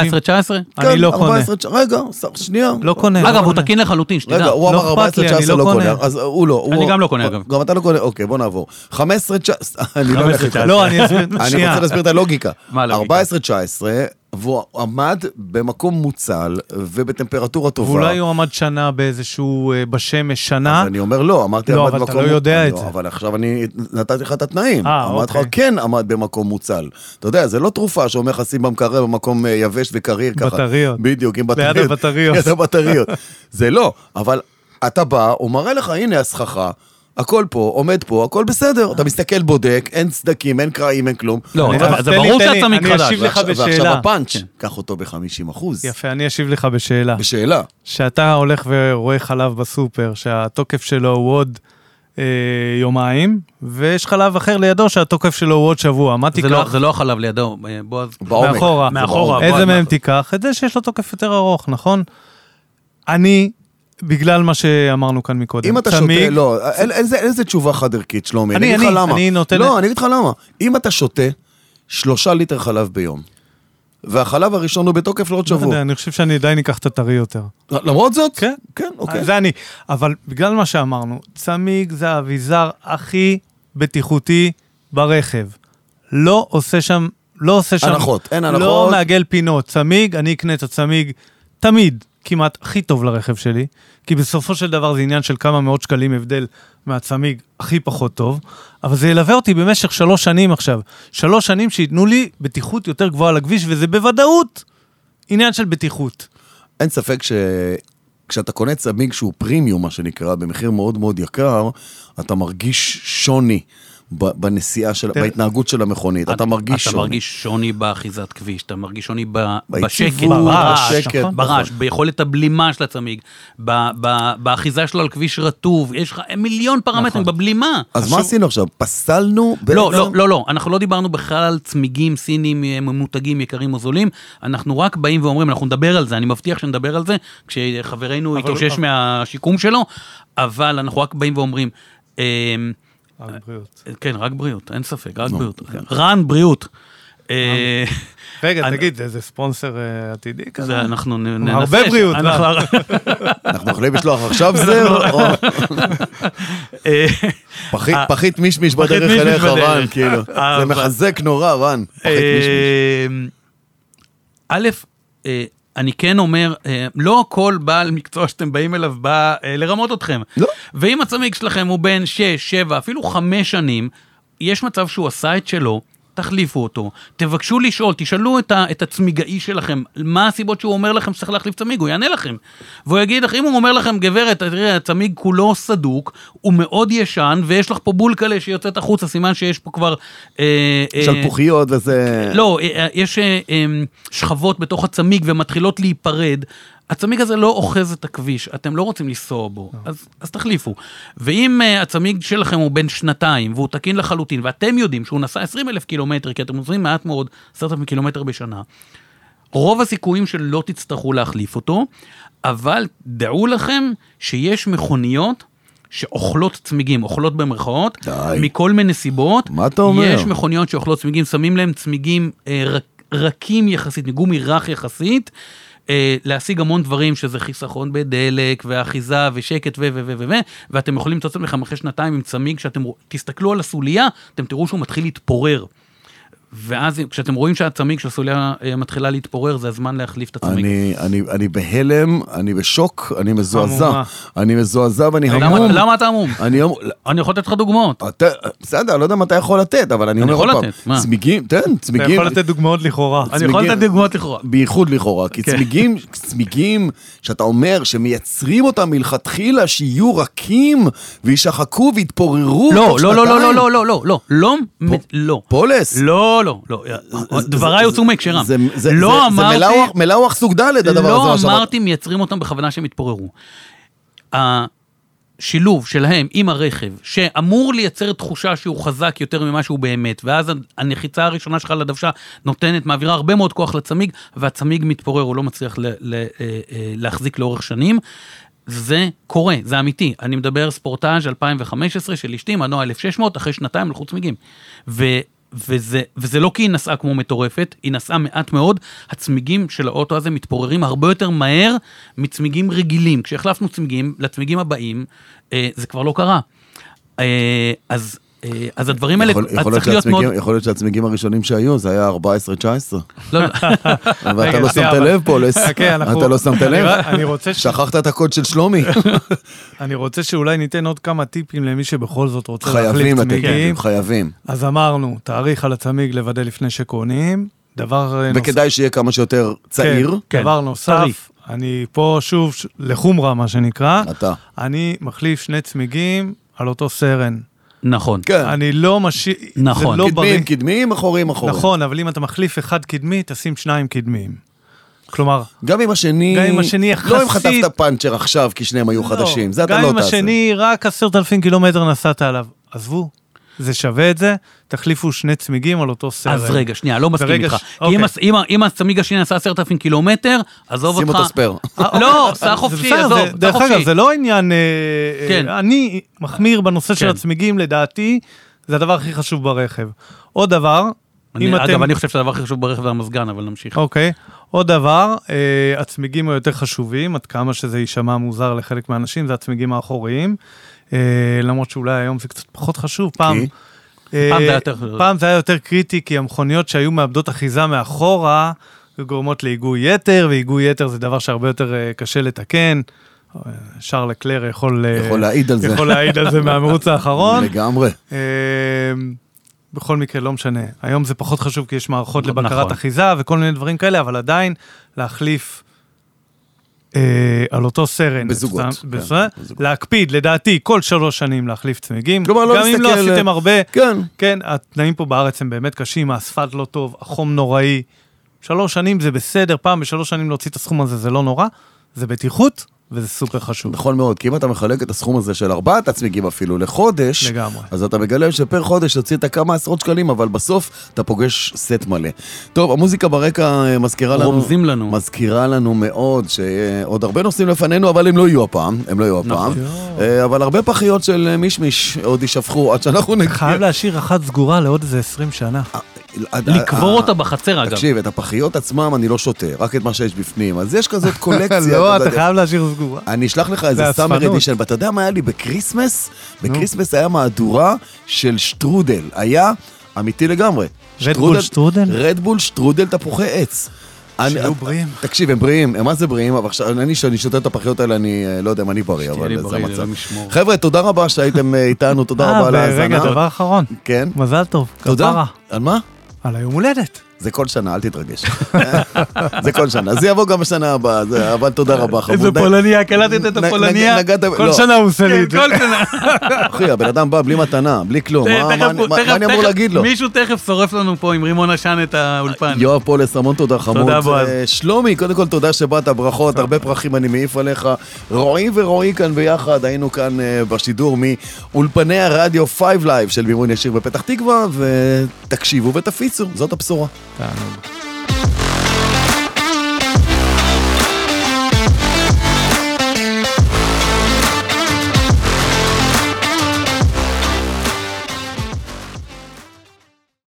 Speaker 2: אני לא קונה.
Speaker 3: רגע, שנייה.
Speaker 2: לא קונה.
Speaker 1: אגב,
Speaker 2: לא
Speaker 1: הוא
Speaker 2: קונה.
Speaker 1: תקין לחלוטין, שתדע.
Speaker 3: רגע, הוא
Speaker 2: לא
Speaker 3: אמר
Speaker 2: אכפת לי,
Speaker 3: 14, 19
Speaker 2: אני
Speaker 3: לא
Speaker 2: לא
Speaker 3: קונה,
Speaker 2: קונה.
Speaker 3: אז הוא לא. הוא-
Speaker 1: אני גם לא קונה, אגב.
Speaker 3: גם אתה לא קונה, אוקיי, בוא נעבור. 15, 19, (laughs) אני לא הולך איתך.
Speaker 2: לא, אני אסביר,
Speaker 3: (laughs) אני
Speaker 2: שנייה.
Speaker 3: רוצה להסביר את הלוגיקה.
Speaker 1: מה הלוגיקה?
Speaker 3: 14, 19, והוא עמד במקום מוצל ובטמפרטורה טובה.
Speaker 2: ואולי הוא לא עמד שנה באיזשהו, אה, בשמש שנה,
Speaker 3: אז אני אומר לא, אמרתי
Speaker 2: לא,
Speaker 3: עמד
Speaker 2: אבל אתה
Speaker 3: במקום...
Speaker 2: לא יודע
Speaker 3: אני
Speaker 2: את זה.
Speaker 3: אבל עכשיו אני נתתי לך את התנאים.
Speaker 2: אה,
Speaker 3: אמרתי לך,
Speaker 2: אוקיי.
Speaker 3: כן עמד במקום מוצל. אתה יודע, זה לא תרופה שאומר לך שים במקרר במקום אה, יבש וקריר ככה.
Speaker 2: בטריות.
Speaker 3: בדיוק, עם בטריות.
Speaker 2: הבטריות.
Speaker 3: (laughs) ליד הבטריות. זה לא, אבל אתה בא, הוא מראה לך, הנה הסככה. הכל פה, עומד פה, הכל בסדר. אתה מסתכל, בודק, אין סדקים, אין קרעים, אין כלום.
Speaker 1: לא,
Speaker 2: אני-
Speaker 1: אבל
Speaker 2: אז
Speaker 1: זה
Speaker 2: תן לי-
Speaker 1: ברור
Speaker 2: תן לי-
Speaker 1: שהצמיג
Speaker 2: אני
Speaker 1: חדש.
Speaker 2: אשיב לך
Speaker 3: ועכשיו- ועכשיו
Speaker 2: בשאלה. כן.
Speaker 3: הפאנץ', קח אותו ב-50 אחוז.
Speaker 2: יפה, אני אשיב לך בשאלה.
Speaker 3: בשאלה.
Speaker 2: שאתה הולך ורואה חלב בסופר, שהתוקף שלו הוא עוד אה, יומיים, ויש חלב אחר לידו שהתוקף שלו הוא עוד שבוע. מה
Speaker 1: זה לא-
Speaker 2: תיקח?
Speaker 1: זה לא החלב לידו, אה, בועז.
Speaker 3: בעומק.
Speaker 2: מאחורה.
Speaker 1: מאחורה, בוא,
Speaker 2: איזה מהם
Speaker 1: אנחנו-
Speaker 2: תיקח? את זה שיש לו תוקף יותר ארוך, נכון? אני, בגלל מה שאמרנו כאן מקודם,
Speaker 3: אם אתה
Speaker 2: צמיג-
Speaker 3: שותה, לא, אין- אין זה- אין איזה תשובה חד ערכית, שלומי, אני
Speaker 2: אני-
Speaker 3: אגיד לך
Speaker 2: אני-
Speaker 3: למה.
Speaker 2: אני נותן-
Speaker 3: לא, אני אגיד לך למה. אם אתה שותה שלושה ליטר חלב ביום, והחלב הראשון הוא בתוקף לעוד
Speaker 2: לא יודע,
Speaker 3: שבוע.
Speaker 2: אני חושב שאני עדיין אקח את הטרי יותר.
Speaker 3: למרות זאת?
Speaker 2: כן.
Speaker 3: כן, אוקיי.
Speaker 2: זה אני. אבל בגלל מה שאמרנו, צמיג זה האביזר הכי בטיחותי ברכב. לא עושה שם, לא עושה שם...
Speaker 3: הנחות, אין
Speaker 2: לא
Speaker 3: הנחות.
Speaker 2: מעגל פינות. צמיג, אני אקנה את הצמיג תמיד, כמעט הכי טוב לרכב שלי, כי בסופו של דבר זה עניין של כמה מאות שקלים הבדל מהצמיג הכי פחות טוב, אבל זה ילווה אותי במשך שלוש שנים עכשיו. שלוש שנים שייתנו לי בטיחות יותר גבוהה לכביש, וזה בוודאות עניין של בטיחות.
Speaker 3: אין ספק ש... כשאתה קונה צמיג שהוא פרימיום, מה שנקרא, במחיר מאוד מאוד יקר, אתה מרגיש שוני ב- בנסיעה של...
Speaker 2: תראה,
Speaker 3: בהתנהגות של המכונית. אתה מרגיש
Speaker 1: אתה
Speaker 3: שוני.
Speaker 1: מרגיש שוני באחיזת כביש, אתה מרגיש שוני ב-
Speaker 3: ביציבות,
Speaker 1: בשקט,
Speaker 2: ברעש,
Speaker 1: ברעש,
Speaker 3: בשקט,
Speaker 1: ברעש,
Speaker 3: נכון.
Speaker 1: ביכולת הבלימה של הצמיג, ב- ב- באחיזה שלו על כביש רטוב, יש לך מיליון פרמטרים בבלימה.
Speaker 3: נכון. אז מה עשינו עכשיו? פסלנו?
Speaker 1: לא,
Speaker 3: בעצם-
Speaker 1: לא, לא, לא, אנחנו לא דיברנו בכלל על צמיגים סינים אה, ממותגים יקרים או זולים, אנחנו רק באים ואומרים, אנחנו נדבר על זה, אני מבטיח שנדבר על זה, כשחברנו
Speaker 3: אה,
Speaker 1: יתאושש מהשיקום שלו, אבל אנחנו רק באים ואומרים, אמ, כן, רק בריאות, אין ספק,
Speaker 3: לא,
Speaker 1: רק בריאות.
Speaker 3: כן.
Speaker 1: רן, בריאות. אה,
Speaker 2: רגע,
Speaker 1: אני-
Speaker 2: תגיד, זה- זה ספונסר אה, עתידי כזה?
Speaker 1: זה אנחנו נ- ננסה.
Speaker 2: הרבה בריאות, לא.
Speaker 1: אנחנו-
Speaker 3: אנחנו יכולים לשלוח
Speaker 2: (laughs)
Speaker 3: עכשיו זר, או
Speaker 1: אה,
Speaker 3: פחית-
Speaker 1: אה,
Speaker 3: פחית מישמיש
Speaker 1: פחית
Speaker 3: בדרך
Speaker 1: מישמיש
Speaker 3: אליך,
Speaker 1: בדרך. אה,
Speaker 3: רן, כאילו. זה
Speaker 1: אבל- אה,
Speaker 3: מחזק נורא, רן. פחית מישמיש.
Speaker 1: א', אה, אני כן אומר, אה, לא כל בעל מקצוע שאתם באים אליו בא אה, לרמות אתכם.
Speaker 3: לא.
Speaker 1: ואם הצמיג שלכם הוא בין 6, 7, אפילו 5 שנים, יש מצב שהוא עשה את שלו, תחליפו אותו, תבקשו לשאול, תשאלו את, ה, את הצמיגאי שלכם, מה הסיבות שהוא אומר לכם שצריך להחליף צמיג, הוא יענה לכם. והוא יגיד לך, אם הוא אומר לכם, גברת, תראי, הצמיג כולו סדוק, הוא מאוד ישן, ויש לך פה בולקלה שיוצאת החוצה, סימן שיש פה כבר... אה, אה,
Speaker 3: שלפוחיות וזה...
Speaker 1: לא, אה, אה, יש אה, אה, שכבות בתוך הצמיג ומתחילות להיפרד. הצמיג הזה לא אוחז את הכביש, אתם לא רוצים לנסוע בו, אז, אז תחליפו. ואם אה, הצמיג שלכם הוא בן שנתיים והוא תקין לחלוטין, ואתם יודעים שהוא נסע 20 אלף קילומטר, כי אתם נוסעים מעט מאוד, 10,000 קילומטר בשנה, רוב הסיכויים שלא תצטרכו להחליף אותו, אבל דעו לכם שיש מכוניות שאוכלות צמיגים, אוכלות במרכאות,
Speaker 3: די.
Speaker 1: מכל מיני סיבות.
Speaker 3: מה אתה אומר?
Speaker 1: יש מכוניות שאוכלות צמיגים, שמים להם צמיגים אה, רק, רכים יחסית, מגומי רך יחסית, אה, להשיג המון דברים, שזה חיסכון בדלק, ואחיזה, ושקט, ו... ו... ו... ו... ו... ואתם יכולים למצוא את עצמכם אחרי שנתיים עם צמיג, שאתם... תסתכלו על הסוליה, אתם תראו שהוא מתחיל להתפורר. ואז כשאתם רואים שהצמיג של הסוליה אה, מתחילה להתפורר, זה הזמן להחליף את הצמיג.
Speaker 3: אני, אני, אני בהלם, אני בשוק, אני מזועזע.
Speaker 2: המומה.
Speaker 3: אני מזועזע ואני
Speaker 1: למה-
Speaker 3: המום.
Speaker 1: למה אתה המום?
Speaker 3: אני המום.
Speaker 1: אני יכול לתת לך דוגמאות.
Speaker 3: אתה, בסדר, אני לא יודע מה אתה יכול לתת, אבל אני אומר
Speaker 1: יכול
Speaker 3: עוד פעם,
Speaker 1: לתת, מה?
Speaker 3: צמיגים, תן,
Speaker 2: אתה
Speaker 3: צמיגים.
Speaker 2: יכול לתת דוגמאות לכאורה.
Speaker 1: אני יכול
Speaker 3: צמיגים.
Speaker 1: לתת דוגמאות לכאורה.
Speaker 3: בייחוד לכאורה, כי
Speaker 1: כן.
Speaker 3: צמיגים, צמיגים שאתה אומר שמייצרים אותם מלכתחילה, שיהיו רכים ויישחקו ויתפוררו.
Speaker 1: לא,
Speaker 3: תוך
Speaker 1: לא, לא, לא,
Speaker 3: שנתיים.
Speaker 1: לא, לא, לא, לא, לא, לא, מ- לא.
Speaker 3: פולס.
Speaker 1: לא, לא, לא,
Speaker 3: זה-
Speaker 1: דבריי
Speaker 3: זה-
Speaker 1: הוצאו
Speaker 3: זה-
Speaker 1: מהקשרם.
Speaker 3: זה- זה- זה-
Speaker 1: לא
Speaker 3: זה
Speaker 1: אמרתי,
Speaker 3: מלאוח- מלאוח סוג ד' הדבר הזה.
Speaker 1: לא
Speaker 3: מה שאמרת.
Speaker 1: אמרתי מייצרים אותם בכוונה שהם יתפוררו. השילוב שלהם עם הרכב, שאמור לייצר תחושה שהוא חזק יותר ממה שהוא באמת, ואז הנחיצה הראשונה שלך לדוושה נותנת, מעבירה הרבה מאוד כוח לצמיג, והצמיג מתפורר, הוא לא מצליח ל- ל- אה, אה, להחזיק לאורך שנים. זה קורה, זה אמיתי. אני מדבר ספורטאז' 2015 של אשתי, מנוע 1600, אחרי שנתיים הלכו צמיגים. ו, וזה, וזה לא כי היא נסעה כמו מטורפת, היא נסעה מעט מאוד, הצמיגים של האוטו הזה מתפוררים הרבה יותר מהר מצמיגים רגילים. כשהחלפנו צמיגים לצמיגים הבאים, אה, זה כבר לא קרה. אה, אז, אה, אז הדברים האלה,
Speaker 3: יכול-
Speaker 1: אז
Speaker 3: יכול להיות
Speaker 1: צריך להיות מאוד...
Speaker 3: שהצמיגים- יכול להיות שהצמיגים הראשונים שהיו זה היה 14-19
Speaker 1: לא, (laughs) לא,
Speaker 3: ואתה
Speaker 2: אה, רגע,
Speaker 3: לא
Speaker 2: שנייה,
Speaker 3: שמת
Speaker 2: אבל-
Speaker 3: לב פולס,
Speaker 2: חכה, אוקיי, אנחנו-
Speaker 3: אתה לא שמת
Speaker 2: אני
Speaker 3: לב,
Speaker 2: ר- אני רוצה ש-
Speaker 3: שכחת את הקוד של
Speaker 2: (laughs)
Speaker 3: שלומי,
Speaker 2: אני רוצה שאולי ניתן עוד כמה טיפים למי שבכל זאת רוצה
Speaker 3: חייבים
Speaker 2: להחליף
Speaker 3: לתת,
Speaker 2: צמיגים.
Speaker 3: חייבים,
Speaker 2: אז אמרנו, תאריך על הצמיג לוודא לפני שקונים. דבר אה, נוסף,
Speaker 3: וכדאי שיהיה כמה שיותר צעיר,
Speaker 1: כן.
Speaker 2: דבר נוסף,
Speaker 1: תאריך.
Speaker 2: אני פה שוב ש- לחומרה, מה שנקרא.
Speaker 3: אתה,
Speaker 2: אני מחליף שני צמיגים על אותו סרן.
Speaker 1: נכון.
Speaker 3: כן,
Speaker 2: אני לא משאיר...
Speaker 1: נכון.
Speaker 2: זה לא בריא.
Speaker 3: קדמיים, קדמיים, אחוריים, אחוריים,
Speaker 2: נכון, אבל אם אתה מחליף אחד קדמי, תשים שניים קדמיים. כלומר,
Speaker 3: גם אם השני,
Speaker 2: גם אם השני
Speaker 3: לא אם
Speaker 2: יחסית-
Speaker 3: חטפת פאנצ'ר עכשיו כי שניהם היו
Speaker 2: לא,
Speaker 3: חדשים, זה אתה
Speaker 2: גם
Speaker 3: לא
Speaker 2: אם
Speaker 3: תעשה,
Speaker 2: השני רק עשרת אלפים קילומטר נסעת עליו. עזבו, זה שווה את זה, תחליפו שני צמיגים על אותו סרן.
Speaker 1: אז רגע, שנייה, לא מסכים
Speaker 2: ברגע
Speaker 1: איתך.
Speaker 2: ש-
Speaker 1: כי אם
Speaker 2: אוקיי.
Speaker 1: הס- אם ה- אם הצמיג השני עשה 10,000 קילומטר, עזוב
Speaker 3: שים
Speaker 1: אותך.
Speaker 3: אותו ספייר.
Speaker 1: אה, לא, סע
Speaker 2: זה
Speaker 1: חופשי,
Speaker 2: בסדר,
Speaker 1: עזוב,
Speaker 2: זה-
Speaker 1: סע
Speaker 2: דרך
Speaker 1: חופשי.
Speaker 2: אגב, זה לא עניין... אה,
Speaker 1: כן.
Speaker 2: אה, אני מחמיר בנושא של
Speaker 1: כן.
Speaker 2: הצמיגים, לדעתי, זה הדבר הכי חשוב ברכב. עוד דבר,
Speaker 1: אני-
Speaker 2: אם אתם...
Speaker 1: אגב, אני חושב שהדבר הכי חשוב ברכב זה המזגן, אבל נמשיך.
Speaker 2: אוקיי. עוד דבר, אה, הצמיגים היותר חשובים, עד כמה שזה יישמע מוזר לחלק מהאנשים, זה הצמיגים האחוריים. אה, למרות שאולי היום זה קצת פחות חשוב, פעם...
Speaker 3: כי?
Speaker 2: אה,
Speaker 1: פעם זה היה יותר-
Speaker 2: פעם זה היה יותר קריטי, כי המכוניות שהיו מאבדות אחיזה מאחורה, היו גורמות להיגוי יתר, והיגוי יתר זה דבר שהרבה יותר אה, קשה לתקן. אה, שרל קלר יכול... אה,
Speaker 3: יכול להעיד על זה.
Speaker 2: יכול להעיד על
Speaker 3: (laughs)
Speaker 2: זה מהמירוץ האחרון.
Speaker 3: לגמרי,
Speaker 2: אמ, בכל מקרה, לא משנה. היום זה פחות חשוב כי יש מערכות
Speaker 1: נכון.
Speaker 2: לבקרת אחיזה וכל מיני דברים כאלה, אבל עדיין להחליף אה, על אותו סרן.
Speaker 3: בזוגות,
Speaker 2: את
Speaker 3: כן,
Speaker 2: ה- בסדר?
Speaker 3: בזוגות.
Speaker 2: להקפיד, לדעתי, כל שלוש שנים להחליף צמיגים.
Speaker 3: כלומר, לא
Speaker 2: גם אם לא
Speaker 3: להסתכל,
Speaker 2: עשיתם
Speaker 3: אה,
Speaker 2: הרבה.
Speaker 3: כן.
Speaker 2: כן, התנאים פה בארץ הם באמת קשים, האספלט לא טוב, החום נוראי. שלוש שנים זה בסדר, פעם בשלוש שנים להוציא את הסכום הזה זה לא נורא, זה בטיחות וזה סופר חשוב.
Speaker 3: נכון מאוד, כי אם אתה מחלק את הסכום הזה של ארבעת הצמיגים אפילו לחודש,
Speaker 2: לגמרי.
Speaker 3: אז אתה מגלה שפר חודש תוצאת כמה עשרות שקלים, אבל בסוף אתה פוגש סט מלא. טוב, המוזיקה ברקע אה, מזכירה לנו...
Speaker 1: רומזים לנו.
Speaker 3: מזכירה לנו מאוד שעוד הרבה נושאים לפנינו, אבל הם לא יהיו הפעם, הם לא יהיו הפעם.
Speaker 1: נכון.
Speaker 3: אה, אבל הרבה פחיות של אה, מישמיש עוד יישפכו עד שאנחנו נגיע.
Speaker 2: חייב להשאיר אחת סגורה לעוד איזה 20 שנה.
Speaker 3: עד-
Speaker 1: לקבור
Speaker 3: אה,
Speaker 1: אותה בחצר, אגב.
Speaker 3: תקשיב, את הפחיות עצמם אני לא שותה, רק את מה שיש בפנים. אז
Speaker 2: (laughs)
Speaker 3: יש כזאת קולקציה.
Speaker 2: לא,
Speaker 3: יודע, אה,
Speaker 2: אתה חייב להשאיר סגורה.
Speaker 3: אני אשלח לך איזה סאמר
Speaker 2: עצבנות.
Speaker 3: אדישן, ואתה יודע מה היה לי בקריסמס? בקריסמס היה מהדורה של שטרודל, היה אמיתי לגמרי.
Speaker 2: רדבול שטרודל?
Speaker 3: רדבול שטרודל תפוחי עץ. אני-
Speaker 2: שיהיו בריאים.
Speaker 3: תקשיב, הם בריאים, הם מה זה בריאים, אבל עכשיו, אני שאני שותה את הפחיות האלה, אני אה, לא יודע אם אני בריא,
Speaker 1: לי
Speaker 3: אבל זה לא
Speaker 1: בריא,
Speaker 3: המצב.
Speaker 1: אלוהים
Speaker 3: (laughs)
Speaker 1: ישמור.
Speaker 3: חבר'ה, תודה רבה שהייתם אה, איתנו, תודה
Speaker 2: לא אה,
Speaker 3: רבה על
Speaker 2: ורגע,
Speaker 3: ההאזנה.
Speaker 2: דבר אחרון.
Speaker 3: כן,
Speaker 2: מזל טוב.
Speaker 3: תודה.
Speaker 2: כפרה.
Speaker 3: על מה?
Speaker 2: על היום הולדת.
Speaker 3: זה כל שנה, אל תתרגש. (laughs) זה כל שנה, זה יבוא גם בשנה הבאה, זה- אבל תודה רבה, חמוד.
Speaker 2: איזה פולניה, קלטת את
Speaker 3: נ- נ-
Speaker 2: הפולניה?
Speaker 3: נגעת-
Speaker 2: כל
Speaker 3: לא.
Speaker 2: שנה הוא עושה לי
Speaker 1: כן,
Speaker 2: את זה.
Speaker 1: כל שנה.
Speaker 3: (laughs) אחי, הבן אדם בא בלי מתנה, בלי כלום, מה- מה
Speaker 1: תכף
Speaker 3: אני-
Speaker 1: הוא-
Speaker 3: מה-
Speaker 1: תכף-
Speaker 3: מה אני אמור
Speaker 1: תכף-
Speaker 3: להגיד לו?
Speaker 1: מישהו תכף שורף לנו פה עם רימון עשן את האולפן.
Speaker 3: יואב פולס, המון תודה חמוד.
Speaker 1: תודה, בועז.
Speaker 3: אה, שלומי, קודם כל תודה שבאת, ברכות, הרבה פרחים אני מעיף עליך. רועי ורועי כאן ביחד, היינו כאן אה, בשידור מאולפני הרדיו 5 Live של מימון ישיר בפתח תקווה, ותקשיבו ותפיצו, זאת הבשורה.